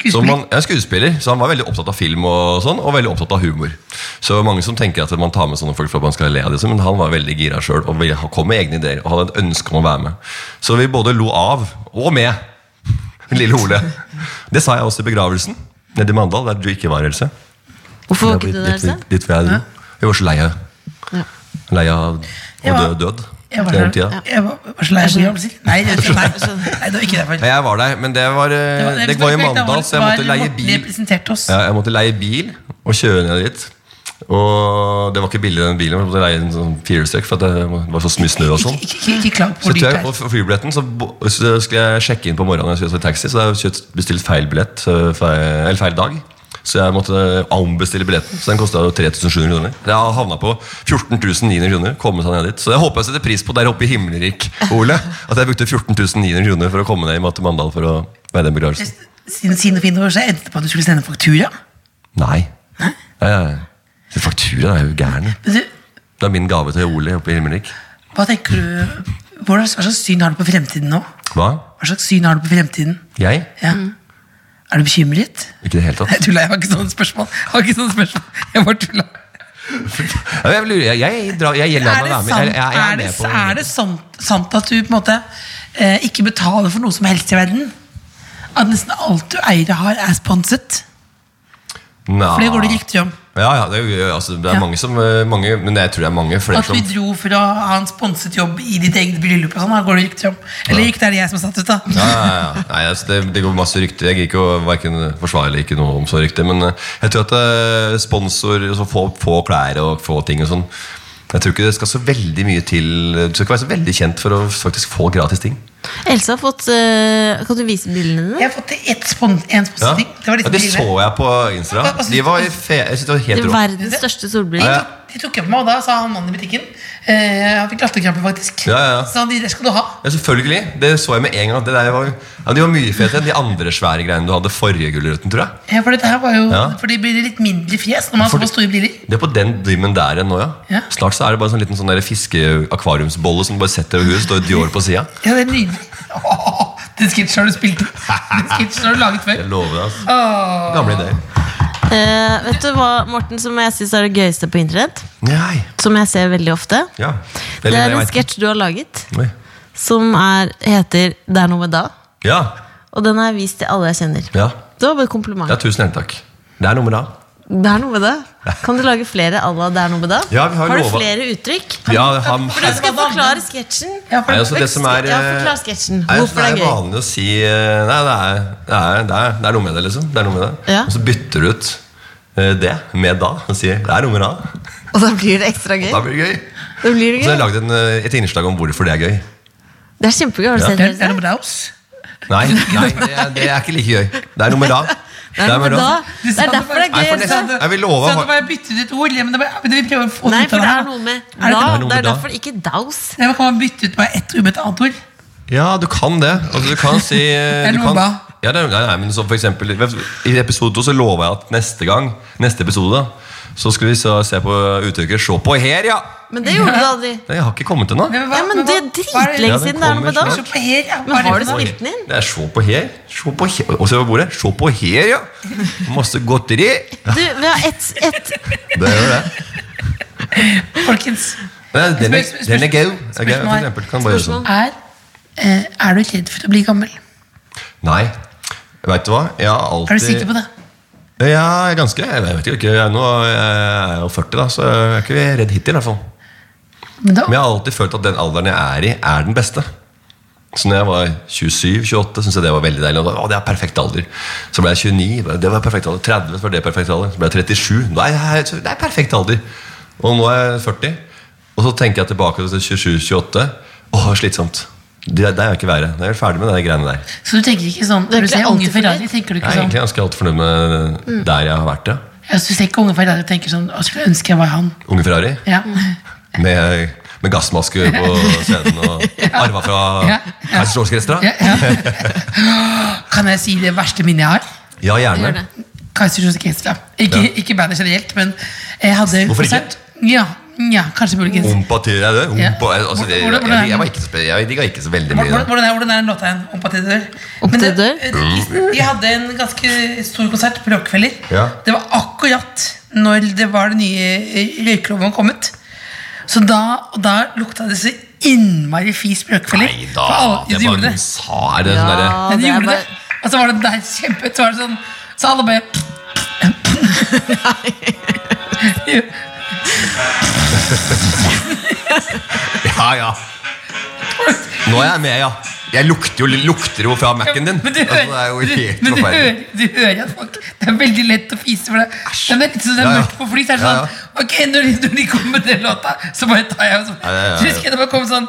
Skuespiller. Som man, ja, skuespiller. Så han var veldig opptatt av film og sånn, og veldig opptatt av humor. Så mange som tenker at man tar med sånne folk for at man skal le av disse, men han var veldig gira sjøl og ville ha- kom med egne ideer og hadde et ønske om å være med. Så vi både lo av og med lille Ole. Det sa jeg også i begravelsen nede i Mandal, der du ikke var, Else. Hvorfor var Det ikke blir du der, litt- Else? litt- litt for jeg dro. Jeg var så lei av Lei av å dø Ja. død. Jeg var den så- tida. jeg var- var så lei av begravelser. Nei, det nei, nei, det var ikke derfor. Nei, jeg var der, men det var, eh, det var i Mandal, så jeg måtte leie Vi bil. presenterte oss. Ja, jeg måtte leie bil og kjøre ned dit. Og det var ikke billigere enn bilen, men jeg måtte leie en sånn firehjulstrekk, for at det var så mye snø og Ikke, sånn. ikke, ikke, ikke klag på Så hvor dyrt jeg, det på er. flybilletten så, bo- så skulle jeg sjekke inn på morgenen, når jeg skulle ta taxi, så jeg kjøpt- bestilt feil billett, eh, feil, eller feil dag. Så jeg måtte ombestille billetten, så den kosta 3700 kroner. Jeg havna på 14.900 kroner. komme seg ned dit. Så jeg håper jeg setter pris på der oppe i himmelrik, Ole, at jeg brukte 14.900 kroner for å komme ned i Matte Mandal for å være i den begravelsen. Siden siden og fint år, så endte det på at du skulle sende faktura. Nei. Nei, nei, nei. Fakturaen er jo gæren. Men du, Det er min gave til Ole oppe i himmelrik. hva tenker du hvordan- Hva slags syn har du på fremtiden nå? Hva? Hva slags syn har du på fremtiden? Jeg? Ja. Er du bekymret? Ikke i det hele tatt. Nei, tulla, jeg har ikke sånne spørsmål. Jeg har ikke sånne spørsmål. Jeg bare tulla. Ja, Jeg, lurer- jeg, jeg, drar- jeg, jeg, Er lar meg det være med. sant, Jeg- jeg- jeg er det, med på- er det sant, sant at du på en måte eh, ikke betaler for noe som helst i verden? At nesten alt du eier og har, er sponset? Nei. For det går det rykter om. Ja, ja, Ah. det er, jo- altså, det er Ja. mange som eh, mange, Men jeg tror det er mange flere At som vi dro for å ha en sponset jobb i ditt eget bryllup. og sånn, da går det rykter om. Eller ryktet er det jeg som har satt ut, da. ja, ja, ja. Nei, altså, det, det går masse rykter. Jeg gir ikke å hverken forsvare eller ikke noe om så rykte. Men eh, jeg tror at eh, sponsor altså, få, få klær og få ting og sånn Jeg tror ikke det skal så veldig mye til Du skal ikke være så veldig kjent for å faktisk få gratis ting. Else har fått eh, Kan du vise bildene dine? Jeg har fått ett spon en Ja, sponset ting. Det ja, var litt det så jeg på Instagram. De var i fe... Jeg synes det var Det helt er rå. verdens største solbriller. Ja, ja. De tok jeg på meg, og da sa han mannen i butikken eh, Han fikk latterkrampe, faktisk. Ja, ja, ja. Så han, de der skal du ha. Ja, selvfølgelig. Det så jeg med en gang. at Det der var, ja, de var mye fetere enn de andre svære greiene du hadde forrige gulrøtten, tror jeg. Ja, for dette her var jo Ja. For de blir litt mindre fjes når man har Fordi- så store briller. Det er på den dimmen der igjen nå, ja. Ja. Snart så er det bare en sånn liten sånn der fiskeakvariumsbolle som du bare setter over huet. Står Dior på sida. Ja, det er nydelig. Åh, den sketsjen har du spilt inn. Den sketsjen har du laget før. Jeg lover deg. Altså. Gamle ideer. Eh, vet du hva, Morten, som jeg syns er det gøyeste på internett? Nei. Som jeg ser veldig ofte? Ja. Det er en jeg vet ikke. sketsj du har laget, Oi. som er, heter 'Det er noe med da'. Ja. Og den har jeg vist til alle jeg kjenner. ja. Det var bare et kompliment. Ja, tusen hjertelig takk. Det er noe med det. Det er noe med det. Kan du lage flere à la 'det er noe med da'? Ja, vi har du lova- flere uttrykk? Ja, han, For du skal forklare sketsjen. Ja, for Nei, altså, det som er, Ja, eh, forklar sketsjen. Nei, altså, Hvorfor det er det er gøy. vanlig å si eh, Nei, det er, det er, det er, det er noe med det, liksom. Det er noe med det. Ja. Og så bytter du ut eh, det med da og sier det er noe med da. Og da blir det ekstra gøy. Da blir det gøy. Da blir det, Så jeg har gøy. lagd en, eh, et innslag om hvorfor det er gøy. det er kjempegøy. Har du Ja. sett Det er- det det? er noe med deg, ass. Nei, nei det, er, det er ikke like gøy. Det er noe med da. Det er, noe med da. Du det sa er derfor det er bare- Nei, gøy. for Else. nesten- Jeg vil love- Så at du bare bytte ut et ord. ja, Men det bare, men vi prøver å få Nei, ut for av det her, er da. noe med Er det da. noe Det med er da? derfor ikke daus. Nei, men Kan man bytte ut bare ett ord med et annet ord? Ja, du kan det. Altså, du kan si eh, Det er du noe kan, med da. Ja, det, nei, nei, men så for eksempel, I episode to så lova jeg at neste gang, neste episode, da, så skulle vi så se på uttrykket 'se på her', ja! Men det gjorde du aldri. Jeg har ikke kommet ennå. Men hva- Ja, men det er hva- hva er det- Ja, dritlenge den siden det er noe med kommer Se dag. på her, ja. Hva Men er det har du for noe? spilt den inn? Det er 'se på her'. Se på her. Og se på bordet. 'Se på her', ja! Masse godteri. Du, vi har ett et, Det er jo det. Folkens, Men Den er, Spørs- den er gøy. Er gøy, for spørsmål. eksempel. Kan bare gjøre sånn. er, eh, er du ikke redd for å bli gammel? Nei. Veit du hva? Jeg har alltid Er du sikker på det? Ja, jeg er ganske. Jeg vet jo ikke. Jeg er, nå, jeg er jo 40, da, så jeg er ikke redd hittil. i hvert fall. Men da, Men jeg har alltid følt at den alderen jeg er i, er den beste. Så når jeg var 27-28, syntes jeg det var veldig deilig. Og da, å, det er perfekt alder. Så ble jeg 29, det var perfekt alder. 30, så var det perfekt alder. Så ble jeg 37, nå er jeg, så det er perfekt alder. Og nå er jeg 40. Og så tenker jeg tilbake til 27-28. Å, slitsomt. Det, det er jeg ikke verre. Jeg er jeg ferdig med de greiene der. så du tenker ikke sånn er Når du ikke ser unge alltid for Ferrari, dyrt. tenker du Jeg ikke Mm. er sånn egentlig ganske alt fornøyd med eh, der jeg har vært. Ja. ja, så Du ser ikke unge Ferrari og tenker sånn Å, skulle ønske jeg var han. Unge Ferrari. Ja. Mm. med, med gassmaske på scenen og arva fra Ja, Keiserslåsk restaurant? Ja, ja. Kan jeg si det verste minnet jeg har? Ja, Gjør gjerne. det. Kaiserslås Orkestra. Ikke, Ja. ikke bandet generelt, men jeg hadde Hvorfor ikke? konsert. Ja, ja, kanskje muligens. Ompa til er det? Ja. Ompa, altså, det, Hvordan- hvordan jeg, er den? jeg, var ikke, så spe- jeg digga ikke så veldig mye. Hvordan, da. hvordan, er, hvordan er den låta igjen? Om Patidør? Om til dør? Vi eh, hadde en ganske stor konsert på Rockefeller. Ja. Det var akkurat når det var den nye eh, røykeloven kommet. Så da, og da lukta det så innmari fis på Rockefeller. Nei For alle- da, ja, det det var gjorde hun det. sa Er det sånn derre Ja, det er de gjorde bare- det. Og så var det der kjempe så, var det sånn, så alle bare Jo, Ja, ja. Nå er jeg med, ja. Jeg lukter jo, lukter jo fra Mac-en din. Men du Altså, det er jo hører- helt men du forferdelig. hører- du hører at folk Det er veldig lett å fise for deg. Men det er litt sånn det er Ja, ja. mørkt på fly. Så er det Ja, sånn Ok, når de, når de kommer med den låta, så bare tar jeg og så Ja, ja, ja, ja. Så husker jeg det bare kom sånn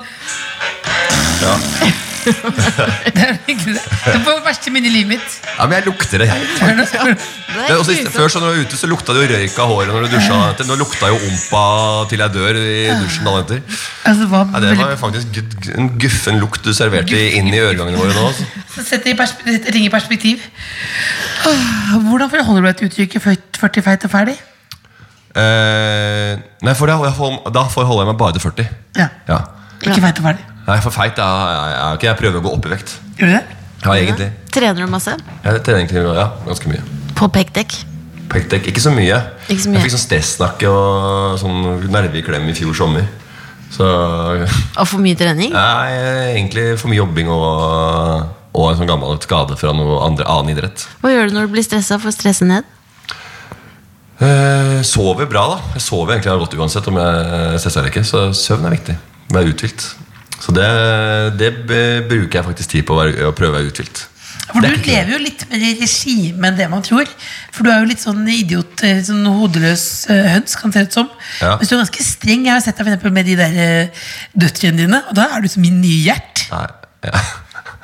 Ja. Det er ikke det. Det er på verste minne i livet mitt. ja, men jeg lukter det. Jeg. Hører du? Det Det er er også, grusomt. før så når du var ute, så lukta det jo røyk av håret når du dusja. Nå lukta jo ompa til jeg dør i dusjen dagen etter. Altså, hva, Ja, det var faktisk gu- gu- en guffen lukt du serverte inn i øregangene våre nå. altså. Så setter jeg perspe- setter ting i perspektiv. Åh, Hvordan forholder du deg til uttrykket født 40 feit og ferdig? Eh, nei, for da, jeg hold- da forholder jeg meg bare til 40. Ja. Ja. Ikke feit og ferdig. Nei, for feit er jeg er ikke. Jeg prøver å gå opp i vekt. Gjør du det? Ja, egentlig. Trener du masse? Jeg trener egentlig ja, ganske mye. På pekdekk? Pekdekk, ikke så mye. Ikke så mye. Jeg fikk sånn stressnakke og sånn nerveklem i fjor sommer. Så Og for mye trening? Nei, egentlig for mye jobbing og, og en sånn gammel skade fra noe andre, annen idrett. Hva gjør du når du blir stressa for å stresse ned? Eh, sover bra, da. Jeg sover egentlig godt uansett om jeg stresser eller ikke. Så søvn er viktig. Være uthvilt. Så det, det b- bruker jeg faktisk tid på å, være, å prøve å være uthvilt. For Det du er ikke lever jo litt mer i regime enn det man tror. For du er jo litt sånn idiot, eh, sånn hodeløs eh, høns, kan det se ut som. Ja. Mens du er ganske streng. Jeg har sett deg for eksempel med de der eh, døtrene dine, og da er du som min nye Gjert. Nei, ja.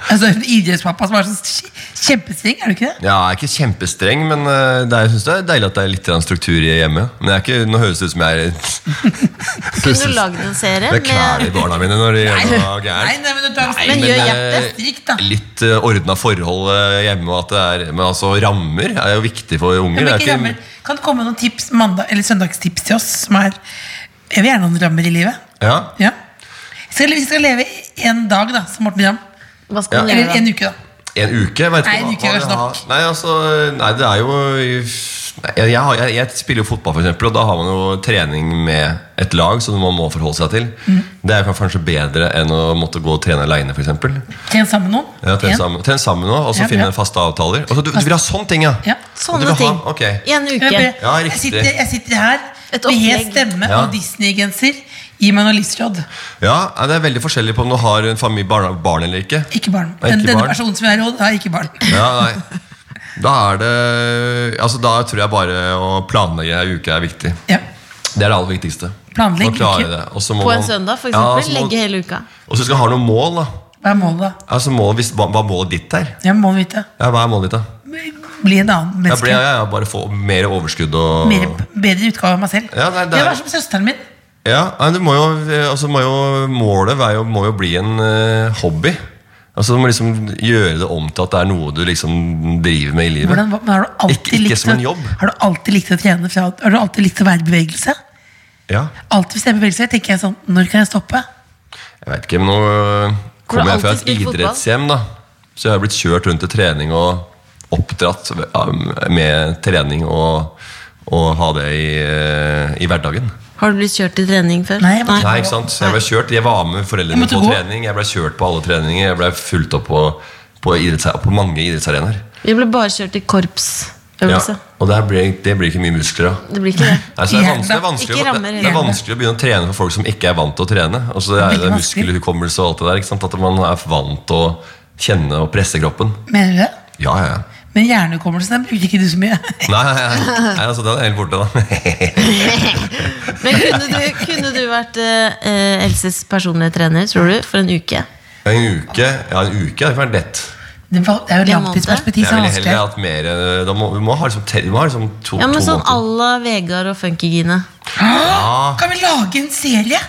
Altså en idrettspappa som er sånn kje- kjempestreng, er du ikke det? Jeg er ikke kjempestreng, men eh, det er, jeg synes det er deilig at det er litt grann struktur i hjemmet. Men jeg er ikke, nå høres det ut som jeg Kunne du er lagd en serie? Jeg kveler barna mine når de gjør noe Nei, gærent. nei, men du er men streng. gjør eh, hjertet strikt, da. Litt uh, ordna forhold eh, hjemme. Og at det er, men altså, rammer er jo viktig for unger. Men det er ikke rammer. Kan det komme noen tips mandag, eller søndagstips til oss som er Jeg vil gjerne ha noen rammer i livet. Ja. Ja. Skal, vi skal leve en dag, da, som Morten Ramm. Hva skal man Eller gjøre en da? uke, da. En uke? Jeg vet ikke Nei, en hva- uke er hva kanskje det nok. har- Nei, altså, nei, det er jo Nei, jeg, jeg, har- jeg, jeg spiller jo fotball, for eksempel, og da har man jo trening med et lag som man må forholde seg til. Mm. Det er jo kanskje bedre enn å måtte gå og trene aleine, f.eks. Trene sammen med noen. Ja, trene En. sammen, trene sammen nå, og så Ja, finne bra. faste avtaler. Altså, du, du vil ha sånne ting, ja? Ja, Du Sånne vil ting. Ha, ok. I en uke. Jeg, Ja, jeg, riktig. sitter, jeg sitter her Et med hes opplegg. stemme Ja. og Disney-genser. Gi meg noen livsråd. Ja, nei, Det er veldig forskjellig på om du har en familie, barn, barn eller ikke. Ikke barn. Nei, Den, ikke denne barn. personen som jeg har råd, har ikke barn. Ja, nei Da er det Altså, da tror jeg bare å planlegge ei uke er viktig. Ja. Det er det aller viktigste. Planlegg Å klare uke. det. Og så må På en man- søndag, for Ja, eksempel? så må- Legge hele uka? Og så skal man ha noen mål, da. Hva er målet, da? Altså, mål, hvis, hva hva er målet ditt her? Jeg må vite. Ja, hva er målet ditt, da? Bli en annen Jeg menneske. ble, ja, ja, bare få mer overskudd og Mer, bedre utgave av meg selv. Ja, nei, det Jeg er- var som søsteren min. Ja, nei, det må jo, altså, må jo Målet er jo, må jo bli en eh, hobby. Altså, du må liksom gjøre det om til at det er noe du liksom driver med i livet. Hvordan, hva- men har, du alltid Ikke- ikke likt som en å- jobb. har du alltid likt å trene? Fra, har du alltid likt å være i bevegelse? Ja, Alltid hvis jeg er i bevegelse, tenker jeg sånn Når kan jeg stoppe? jeg vet ikke, men nå øh, kommer jeg fra alltid et spilt fotball? idrettshjem, da. Så jeg har blitt kjørt rundt til trening og oppdratt ja, med trening og, og ha det i, øh, i hverdagen. Har du blitt kjørt til trening før? Nei, jeg må- Nei, ikke sant? Så jeg ble kjørt, jeg var med foreldrene Måtte på gå? trening, jeg ble kjørt på alle treninger, jeg ble fulgt opp på, på, idretts, på mange idrettsarenaer. Vi ble bare kjørt til Ja, korpsøvelse. og der blir, det blir ikke mye muskler av. Det blir ikke det. Nei, så det, er Hjerne. vanskelig, det, er vanskelig, Ikke å- rammer det, det er hjerne. vanskelig å begynne å trene for folk som ikke er vant til å trene. Altså, det er Veldig det er vanskelig. muskelhukommelse og alt det der. Ikke sant? At man er vant til å kjenne og presse kroppen. Mener du det? Ja, ja, ja. Men hjernehukommelsen den bruker ikke du så mye. Nei, nei, nei. nei altså, den er helt borte, da. Men kunne du, kunne du vært eh, eh, Elses personlige trener, tror du, for en uke? En uke ja, en uke hadde ikke vært lett. Det var- det er jo En langtidsperspektiv Jeg som er ville heller vanskelig. hatt mer eh, da må, Vi må ha liksom, te- vi må ha liksom to, Ja, men to sånn à måneder. la Vegard og Funkygine. Ja, Kan vi lage en serie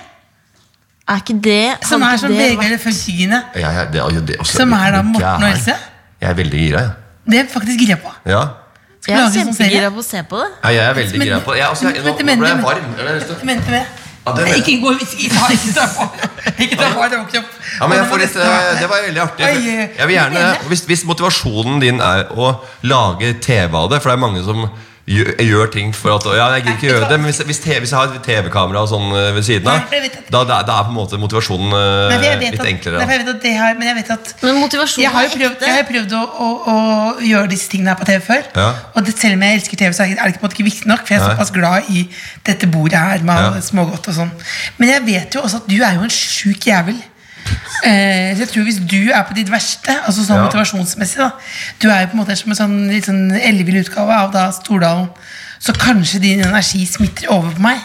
Er ikke det som hadde er ikke som det Vegard eller Funkygine? ja, ja, det, ja, det er også, Som er da Morten og Gæren. Else? Jeg er veldig gira, jeg. Det er faktisk gira på. Ja. vært- Jeg er lage en sånn serie? kjempegira på å se på det. Ja, jeg er veldig Men- gira på det. Jeg, altså, jeg, nå, men- nå men- ble jeg men- varm. Jeg ble lyst til å- Jeg mente det. Ja, det Nei, mente- Ikke gå ikke ta ikke ta på. Ikke ta på, det var ikke opp. Ja, men jeg får litt, eh, Det var veldig artig. Oi, eh, Jeg vil gjerne, mener jeg. hvis, hvis motivasjonen din er å lage TV av det For det er mange som gjør, gjør ting for at Ja, jeg gidder ikke gjøre det, men hvis, hvis, TV, hvis jeg har et TV-kamera og sånn eh, ved siden Nei, av, for jeg vet at- da, da, da er på en måte motivasjonen eh, Nei, for jeg vet litt at- enklere. Nei, for Da. jeg vet at det har, men jeg vet at Men motivasjonen jeg har jo er prøvd, ekte. jeg har prøvd å, å, å gjøre disse tingene her på TV før. Ja. Og det, selv om jeg elsker TV, så er det på en måte ikke viktig nok. For jeg er Nei. såpass glad i dette bordet her med Ja. alle smågodt og sånn. Men jeg vet jo også at du er jo en sjuk jævel. Eh, så jeg tror Hvis du er på ditt verste, altså sånn Ja. motivasjonsmessig da Du er jo på en måte som en sånn litt sånn ellevill utgave av da Stordalen. Så kanskje din energi smitter over på meg.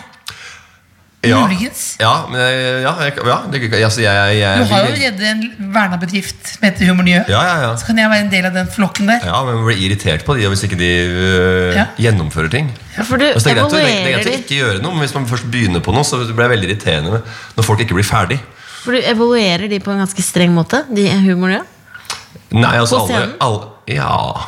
Ja, Muligens. ja, men, eh, ja, jeg, ja det, altså, jeg, jeg, Du jeg har jo vil- allerede en verna bedrift som heter Humor Nye. Ja, ja, ja. Så kan jeg være en del av den flokken der. Ja, men man blir irritert på de hvis ikke de øh, Ja. gjennomfører ting. For du Altså, det, er greit, å- det, er evaluerer greit å de. ikke gjøre noe, men hvis man først begynner på noe, så blir jeg veldig irriterende når folk ikke blir ferdig. For du evaluerer de på en ganske streng måte, de humorene. Nei, altså På alle, scenen? alle Ja.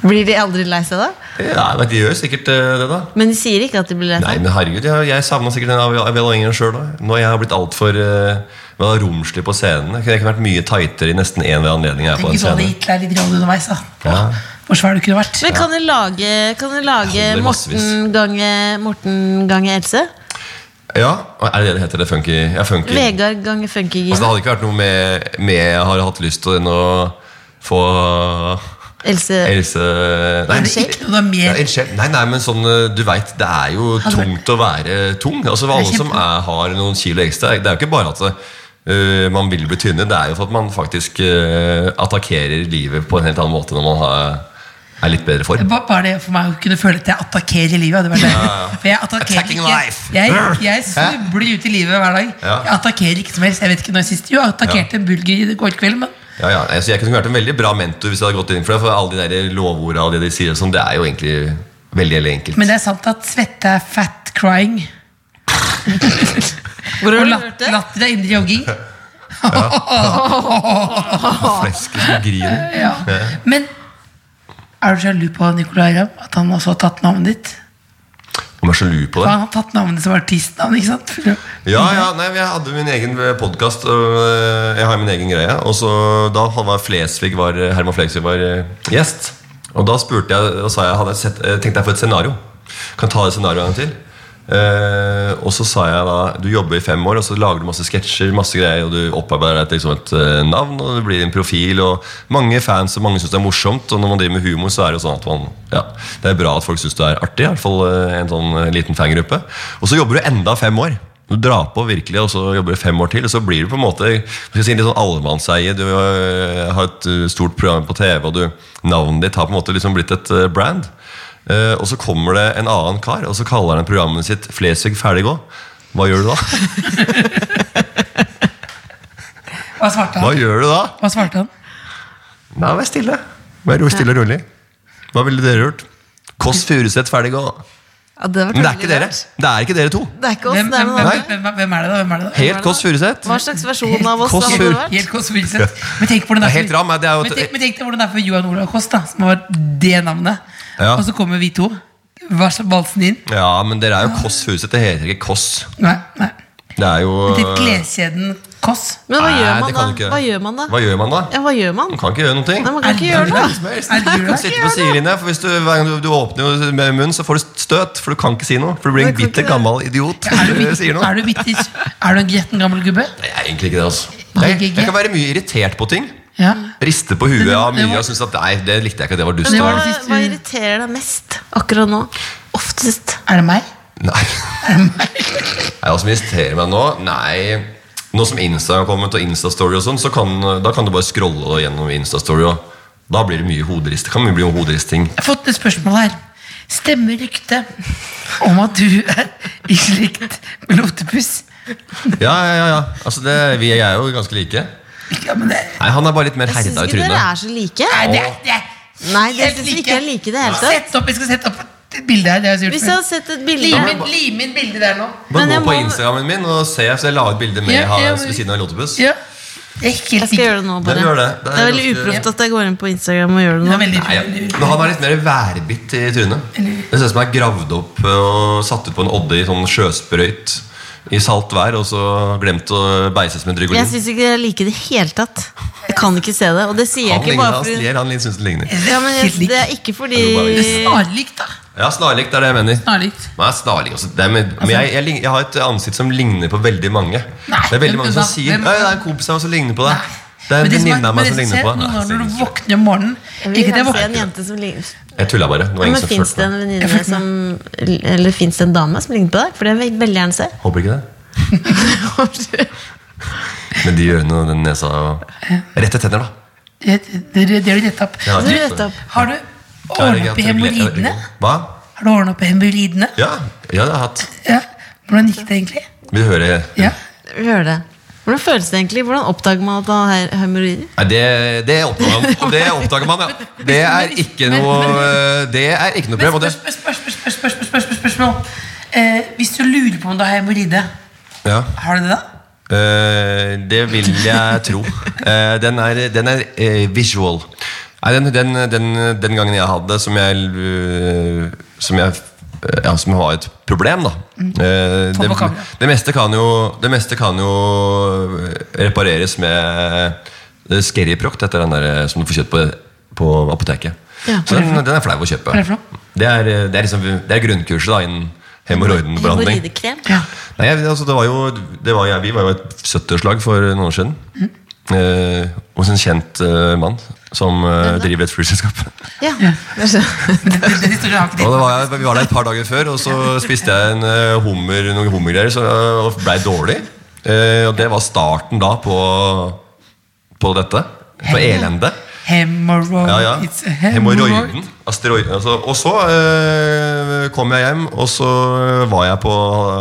Blir de aldri lei seg da? ja men de gjør sikkert øh, det, da. Men de sier ikke at de blir lei Nei, seg. men herregud, jeg, jeg savna sikkert den av- av evalueringen sjøl òg. Når jeg har blitt altfor uh, romslig på scenen. Jeg kunne- jeg kunne vært mye tightere i nesten enhver anledning jeg er på Tenk en hvis du hadde sånn scene. gitt deg litt råd underveis, da. Ja. Hvor svær du kunne vært. Men kan dere lage, kan dere lage Jeg holder massevis. Morten gange, Morten gange Else? ja, Er det det det heter? Det funky? Ja, funky. Vegard gange Altså, det Funkygine? hadde ikke vært noe med, med jeg har hatt lyst til enn å få Else Else Nei, Er det ikke noe da Ja, mer en sjel. Nei, nei, men sånn, eh, du vet, Det er jo Hadde vært- tungt å være tung. Altså er Alle som kjempe- er, har noen kilo ekstra Det er jo ikke bare at eh, man vil bli tynne, det er jo for at man faktisk eh, attakkerer livet på en helt annen måte når man har, er litt bedre form. Ba- Bare det for meg å kunne føle at jeg attakkerer livet. Hadde vært det. For jeg attakkerer Attacking ikke. life. Jeg, jeg snubler ut i livet hver dag. Ja. Jeg attakkerer ikke som helst. Jeg vet ikke når sist Jo, jeg attakkerte en bulger i går kveld, men Ja, ja, altså, jeg kunne vært en veldig bra mentor hvis jeg hadde gått inn for det, for alle de der lovordene og det de sier, og sånn, det er jo egentlig veldig, veldig enkelt. Men det er sant at svette er fat crying. Hvor har Og du hørt lat- det? latter er indre jogging. Flesk som griner. Ja. Men er du sjalu på Nicolay Ramm? At han også har tatt navnet ditt? Om jeg er sjalu på For det? han har tatt navnet som artistnavn, ikke sant? For- Ja, ja, nei, men jeg hadde min egen eh, podkast. eh, Jeg har min egen greie. Og så da han var Flesvig var, Herman Flesvig var øh, gjest. Og da spurte jeg og sa jeg, hadde jeg sett, øh, tenkte jeg på et scenario. Kan ta det scenarioet en gang til. Eh, og så sa jeg da du jobber i fem år og så lager du masse sketsjer masse greier, og du opparbeider deg et, liksom et eh, navn og det blir en profil. Og mange fans og mange syns det er morsomt. Og når man driver med humor, så er det jo sånn at man ja, det er bra at folk syns du er artig. I hvert fall eh, en sånn eh, liten fangruppe. Og så jobber du enda fem år. Du drar på virkelig, og så jobber du fem år til, og så blir du på en måte hva skal jeg si, litt sånn allemannseie. Du øh, har et øh, stort program på TV, og du, navnet ditt har på en måte liksom blitt et øh, brand. Eh, og så kommer det en annen kar, og så kaller han programmet sitt 'Flesvig ferdig gå'. Hva gjør du da? Hva svarte Hva han? gjør du da? Hva svarte han? Nei, vær stille. Vær ro- stille og rolig. Hva ville dere gjort? Kåss Furuseth ferdig gå. Ja, det hadde vært Men det er ikke veldig dere. rart. Det er ikke dere to. Det er ikke oss, Hvem, sånn, det er hvem, noen hvem, andre. hvem, hvem er det, da? Hvem er det da? Helt Kåss Furuseth. Hva slags versjon av oss Kåss hadde det vært? Helt Kåss Furuseth. Men tenk hvordan det er Helt for- ram, det er jo Men et- tenk- men tenk deg hvordan det er for Johan Olav Kåss, da, som har det navnet. Ja. Og så kommer vi to. Vars- Valsen inn. Ja, men dere er jo Kåss Furuseth. Det heter ikke Kåss. Nei, nei. Det er jo Til kleskjeden Kåss. Men hva Nei, gjør det man da? kan du ikke. Hva gjør man da? Hva gjør man da? Ja, hva gjør man? Man kan ikke gjøre noen ting. Nei, man kan ikke Er det gjøre Som det. helst. Er det Du du kan sitte på sidelinja, for hvis du, hver gang du, du åpner jo med munnen, så får du støt. For du kan ikke si noe. For du blir Nei, en jeg kan bitter, ikke det. gammel idiot Er du, hvis du bitt- sier noe. er du, bitt, er du en gretten gammel gubbe? Nei, jeg er egentlig ikke det, altså. Jeg, jeg kan være mye irritert på ting. Ja. Riste på huet det var- av mye og synes at nei, det likte jeg ikke, det var dust. det og- var Hva, det siste- hva irriterer deg mest akkurat nå? Oftest? Er det meg? Nei. Nei, hva som irriterer meg nå? Nei, nå som Insta har kommet og Instastory og sånn, så kan, da kan du bare scrolle gjennom Instastory, og da blir det mye hoderist. Det kan mye bli hoderisting. Jeg har fått et spørsmål her. Stemmer ryktet om at du er i slikt med lotepus? Ja, ja, ja. ja. Altså, det, vi er jo ganske like. Ja, men det, Nei, han er bare litt mer Jeg syns herda i ikke dere trynet. er så like. nei, det, er- det er Nei, det helt syns ikke jeg like i det hele tatt. Sett opp, Jeg skal sette opp et bilde her. Det har Hvis jeg gjort jeg før. hadde sett et bilde Lim inn- Lim inn bildet der nå. Bare Men jeg gå på må- Instagrammen min og se, så jeg la ut bilde med Ja, han ja, men- ved siden av Lotepus. Ja. Jeg er Jeg helt skal gjøre sikker. det nå, Det bare. gjør det. Det Det er er veldig ganske- uproft at jeg går inn på Instagram og gjør Det det er nå. veldig Nei, ja. Men han er litt mer værbitt i trynet. Det ser ut som han er gravd opp og satt ut på en odde i sånn sjøsprøyt i saldt vær, og så glemt å beise som en Jeg drygolin. syns ikke dere liker det i det hele tatt. Jeg kan ikke se det. Og det sier jeg Han ikke ligner, bare han fordi ler, han syns han ligner. ja, men jeg, Helt likt. Det er ikke fordi Jo, bare Det Eh. er snarlikt, da. Ja, snarlikt er det jeg mener. Snarlikt. Nei, snarlig også. Det er med, men jeg, jeg, lign- jeg har et ansikt som ligner på veldig mange. Altså- Nei, det er veldig men mange hva- som sier hvem- «Nei, det er en kompis av meg som ligner på deg. Det er en Men det som er- venninne av meg men som det ligner ser på noen deg. Nei, ganger Når du seriøst. våkner om morgenen Jeg vil Ikke at jeg gjerne se en våkner jente som ligner Jeg tulla bare. Det var ja, ingen Men som fins det fulgte en meg. venninne som Eller fins det en dame som ligner på deg? For det vil jeg veldig gjerne se. Håper ikke det. Med de ørene og den nesa og Rette tenner, da. Det det- det har du rett opp. Ja, Du rett vet opp. Har du Ja, jeg- ordna opp i jeg- jeg- jeg- hemoroidene? Hva? Har du ordna opp i hemoroidene? Ja, ja, det har jeg hatt. Ja. Hvordan gikk det egentlig? Vil du høre Ja. Vi hører det. Hvordan føles det egentlig? Hvordan oppdager man at man har hemoroider? Nei, det, det oppdager man. Og det oppdager man, ja. Det er ikke noe eh, Det er ikke noe problem. Og Men det, spørs- spørs- spørs- spørs- spørs- spørs- spørs- spørsmål. Eh, hvis du lurer på om du har hemoroide, ja. har du det da? Eh, det vil jeg tro. Eh, den er, den er eh, visual. Nei, den, den, den, den gangen jeg hadde som jeg, eh, som jeg eh, ja, som var et problem, da. Eh, Mm. Få det, på kamera. det, meste kan jo, det meste kan jo eh, repareres med eh, Scariproct, etter den der eh, som du får kjøpt på, på apoteket. Ja. Så den, den er flau å kjøpe. Hva er det for noe? Det er, eh, det er, liksom, det er grunnkurset da, innen hemoroidenbehandling. Hemoroidekrem? Nei, jeg- altså, det var jo, det var, jeg, vi var jo et 70-årslag for noen år siden. Eh, hos en kjent eh, mann som eh, driver et flyselskap. Ja. det skjønner jeg. Den, den historien har ikke Og de. det var, jeg- vi var der et par dager før, og så spiste jeg en eh, hummer, noen hummergreier så, og blei dårlig. Eh, og det var starten da på, på dette. På elendet. Hemoroid. Ja, ja. It's a hemorrhoid. Hemoroiden. asteroid- Altså, og så eh, kom jeg hjem, og så eh, var jeg på,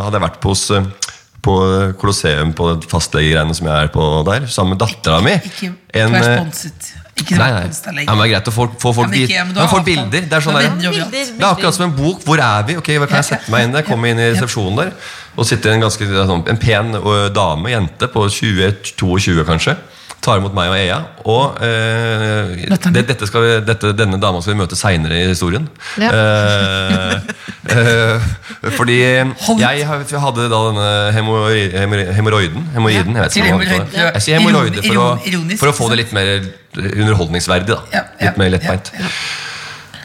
hadde jeg vært på, hos, eh, på Colosseum på det fastlegegreiene som jeg er på der, sammen med dattera mi. Ikke En, vær eh, sponset. Ikke Nei, vær nei. sponset av Ja, men det er greit å få, få folk men ikke- dit. ja, men du Man har får avstand. bilder. Det er sånn Da der, vender du overalt. Bilder, det er akkurat som en bok. Hvor er vi? Ok, hva Kan jeg sette meg inn der? Komme inn i resepsjonen der. Og sitter en ganske sånn, en pen ø, dame, jente, på 20-22 kanskje. Tar imot meg og Ea. Og eh, det, dette skal vi, dette, denne dama skal vi møte seinere i historien. Ja. Eh, eh, fordi jeg har- jeg hadde da denne hemoroi- hemoroi- hemoroiden. Hemoroiden, jeg vet ikke hva man kaller det. Jeg sier hemoroide for, å- for å få det litt mer underholdningsverdig. da Ja, ja, Litt mer lettbeint. ja, ja.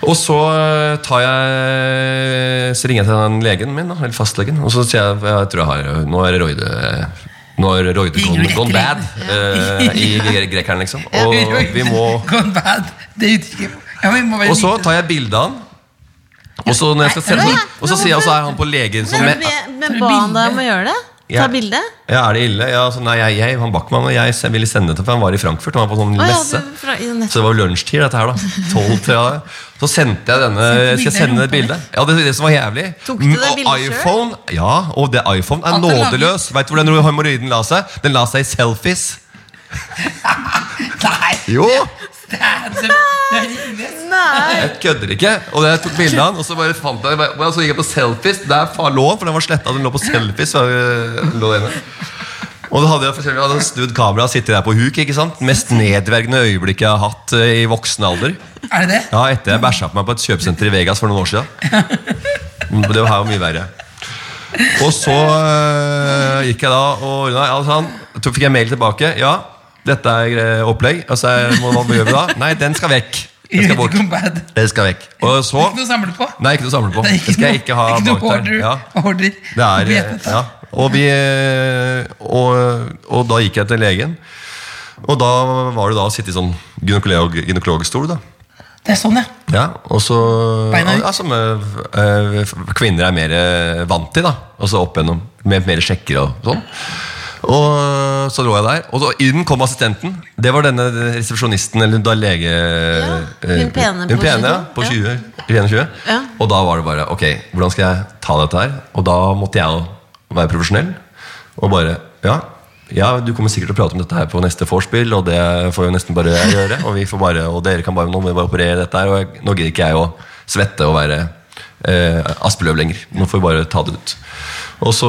Og så eh, tar jeg Så ringer jeg til den legen min, da, eller fastlegen, og så sier jeg jeg tror jeg har Nå er det Roide Nå er det Roide Ringer du gone, rett gone til bad legen? eh, i gre- grekeren, liksom. Og vi må Gone bad. Det er uttrykket. Ja, men vi må være Og så like. tar jeg bilde av han. Og så når jeg skal sette den, og så sier jeg, og så er han på legen som Men, med, men, men ba han deg om å gjøre det? Ta Ja. bilde? Ja, er det ille? Ja, så nei, jeg, jeg, han Backman og jeg se- ville sende det til, for han var i Frankfurt. Han var på sånn Å ja, messe. du- fra- i nett- Så det var jo lunsjtid, dette her, da. 12 til, ja. Så sendte jeg denne Sendte du Skal jeg bilder i sende rumpa et bilde? Ja, det, det som var jævlig. Tok du det Mm, og bildet selv? iPhone, ja, og det iPhone er At den lager- nådeløs. Veit du hvor den hemoroiden la seg? Den la seg i selfies. Nei, Jo! det er- Nei! Jeg kødder ikke. Og jeg tok bilde av han, og så bare fant jeg bare, og så gikk jeg på selfies. Der fa- lå han, for den var sletta. Den lå på selfies. Så, øh, lå det inne. Og da hadde jeg for eksempel- jeg hadde snudd kameraet og sittet der på huk. ikke sant? Mest nedverdigende øyeblikk jeg har hatt øh, i voksen alder. Er det det? Ja, Etter jeg bæsja på meg på et kjøpesenter i Vegas for noen år siden. Mm, Det var her jo mye verre. Og så øh, gikk jeg da og ordna ja, sånn. Så fikk jeg mail tilbake. Ja, dette er eh, opplegg. Og så er- hva hva gjør vi da? Nei, den skal vekk. Den Jeg skal vet bort. ikke om bad. Det Det skal vekk. Og så er Ikke noe å samle på. Nei, ikke noe å samle på. Det skal jeg ikke ha ikke noe bak der. order. Ja. order. Det er, Vet dette. ja. og, vi, og, og da gikk jeg til legen. Og da var det da å sitte i sånn gynekolog, gynekologstol. da Det er sånn, ja. ja, og så Beina ut. ja, Som eh, eh, kvinner er mer eh, vant til, da. Og så opp gjennom. Med mer sjekker og sånn. Og så lå jeg der, og så inn kom assistenten. Det var denne resepsjonisten, eller da lege hun eh, pene hun på pene, ja, 22, på ja. 20, 21. Ja. Og da var det bare Ok, hvordan skal jeg ta dette her? Og da måtte jeg jo være profesjonell. Og bare Ja, ja du kommer sikkert til å prate om dette her på neste vorspiel, og det får jo nesten bare jeg gjøre. Og vi får bare Og dere kan bare Nå må vi bare operere dette her. Og jeg, nå gidder ikke jeg å svette og være eh, Aspeløv lenger. Nå får vi bare ta det ut. Og så,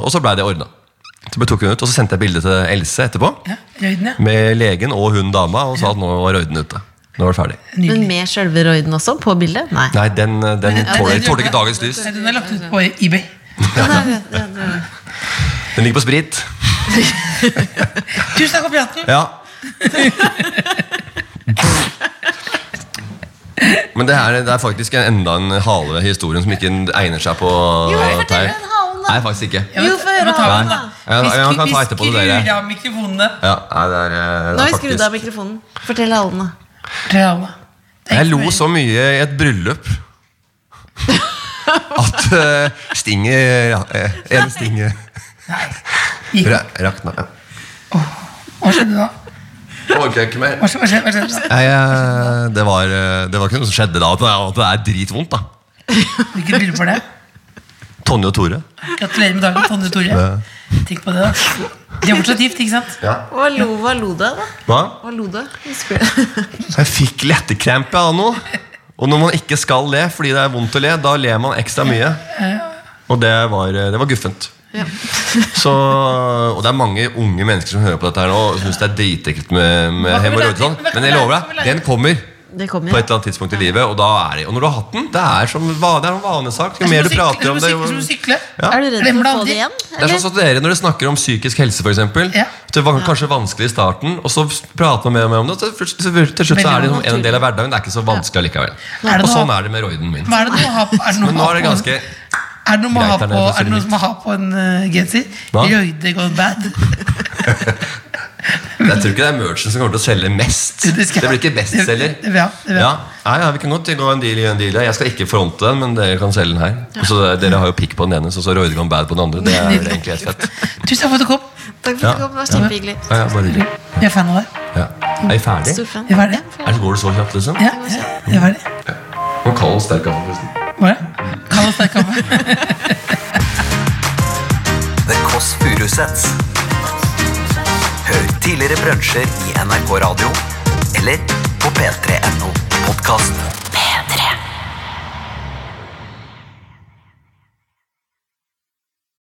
og så blei det ordna. Så bare tok hun ut, og så sendte jeg bilde til Else etterpå. ja. Røyden, ja. Med legen og hun dama, og sa at nå var røyden ute. Nå var det ferdig. Men med sjølve røyden også, på bildet? Nei. Nei, den, eh, den eh, tåler, tåler ikke dagens lys. Nei, Den er lagt ut på eBay. Den ligger på sprit. Tusen takk for praten. Ja. Men det er, det er faktisk en- enda en hale ved historien som ikke egner seg på eh, Jo, fortell den halen, da. Nei, faktisk ikke. Ja, men- Jo, få høre men ta han, den, da. Ja, Vi ja, man kan skru- ta vi etterpå til skrur dere. av mikrofonene. Ja, nei, det er, eh, Nå det har er vi skrudd av faktisk mikrofonen. Fortell halen, da. Til alle. Det er Jeg ikke lo mer. så mye i et bryllup at eh, stinget ja, eh, En stinget Nei. Gikk. ra- rakna. Ja. Hva skjedde da? Nå orker jeg ikke mer. Hva skjedde, hva skjedde, hva skjedde da? Nei, eh, det, var, eh, det var ikke noe som skjedde da, at det er, at det er dritvondt. da Hvilket bilde var det? Tonje og Tore. Gratulerer med dagen, Tonje Tore. Tenk på det, da. De er fortsatt gift, ikke sant? Hva lo, hva lo du av, da? Hva? Hva lo du av? Husker du? Jeg fikk lettekrampe av noe. Og når man ikke skal le fordi det er vondt å le, da ler man ekstra mye. Og det var, det var guffent. Ja. Så, og det er mange unge mennesker som hører på dette her nå og syns det er dritekkelt med, med hemoroider. og sånn. Men jeg lover deg, den kommer Det på et kommer. eller annet tidspunkt i livet. Og da er det, og når du har hatt den, det er som va- det er en vanesak. Jo mer du prater om det, jo Som å jo sykle. Ja. Er du redd Glemmer for det å få aldri. det igjen? Det er sånn som dere når dere snakker om psykisk helse, for eksempel, Ja. Det var kanskje vanskelig i starten, og så prater man mer og mer om det. Og til til- til slutt så er det liksom en del av hverdagen. Det er ikke så vanskelig allikevel. Er det Og noe- sånn er det med roiden min. Hva er det noe å ha på? Er det noe Men å nå ha er det på- ganske Er det noe man greit har der på, nede, så er det ser det noe litt- som man har på en eh, genser? Hva? Røyde gone bad. Jeg tror ikke det er merchen som kommer til å selge mest. Det Det skal- blir ikke bestselger. Det- det- ja, det- Ja. Nei, ja, vi kan godt gå en deal i en deal. ja. Jeg skal ikke fronte den, men dere kan selge den her. Og så Dere har jo pikk på den ene, så så Roydegan Bad på den andre. Det er vel egentlig helt fett. Tusen takk for at du kom. Takk for at du kom, det var kjempehyggelig. sånn- Ja, ja, bare hyggelig. Vi er fan av deg. Ja. Er vi ferdig? Stor fan. Vi var det. Er det går det så kjapt, liksom? Ja, ja, det var det. Og kald og sterk kaffe, forresten. Var det? Kall oss deg kaffe. The Kåss Furuseths. Hør tidligere brunsjer i NRK Radio eller på p3.no podkast.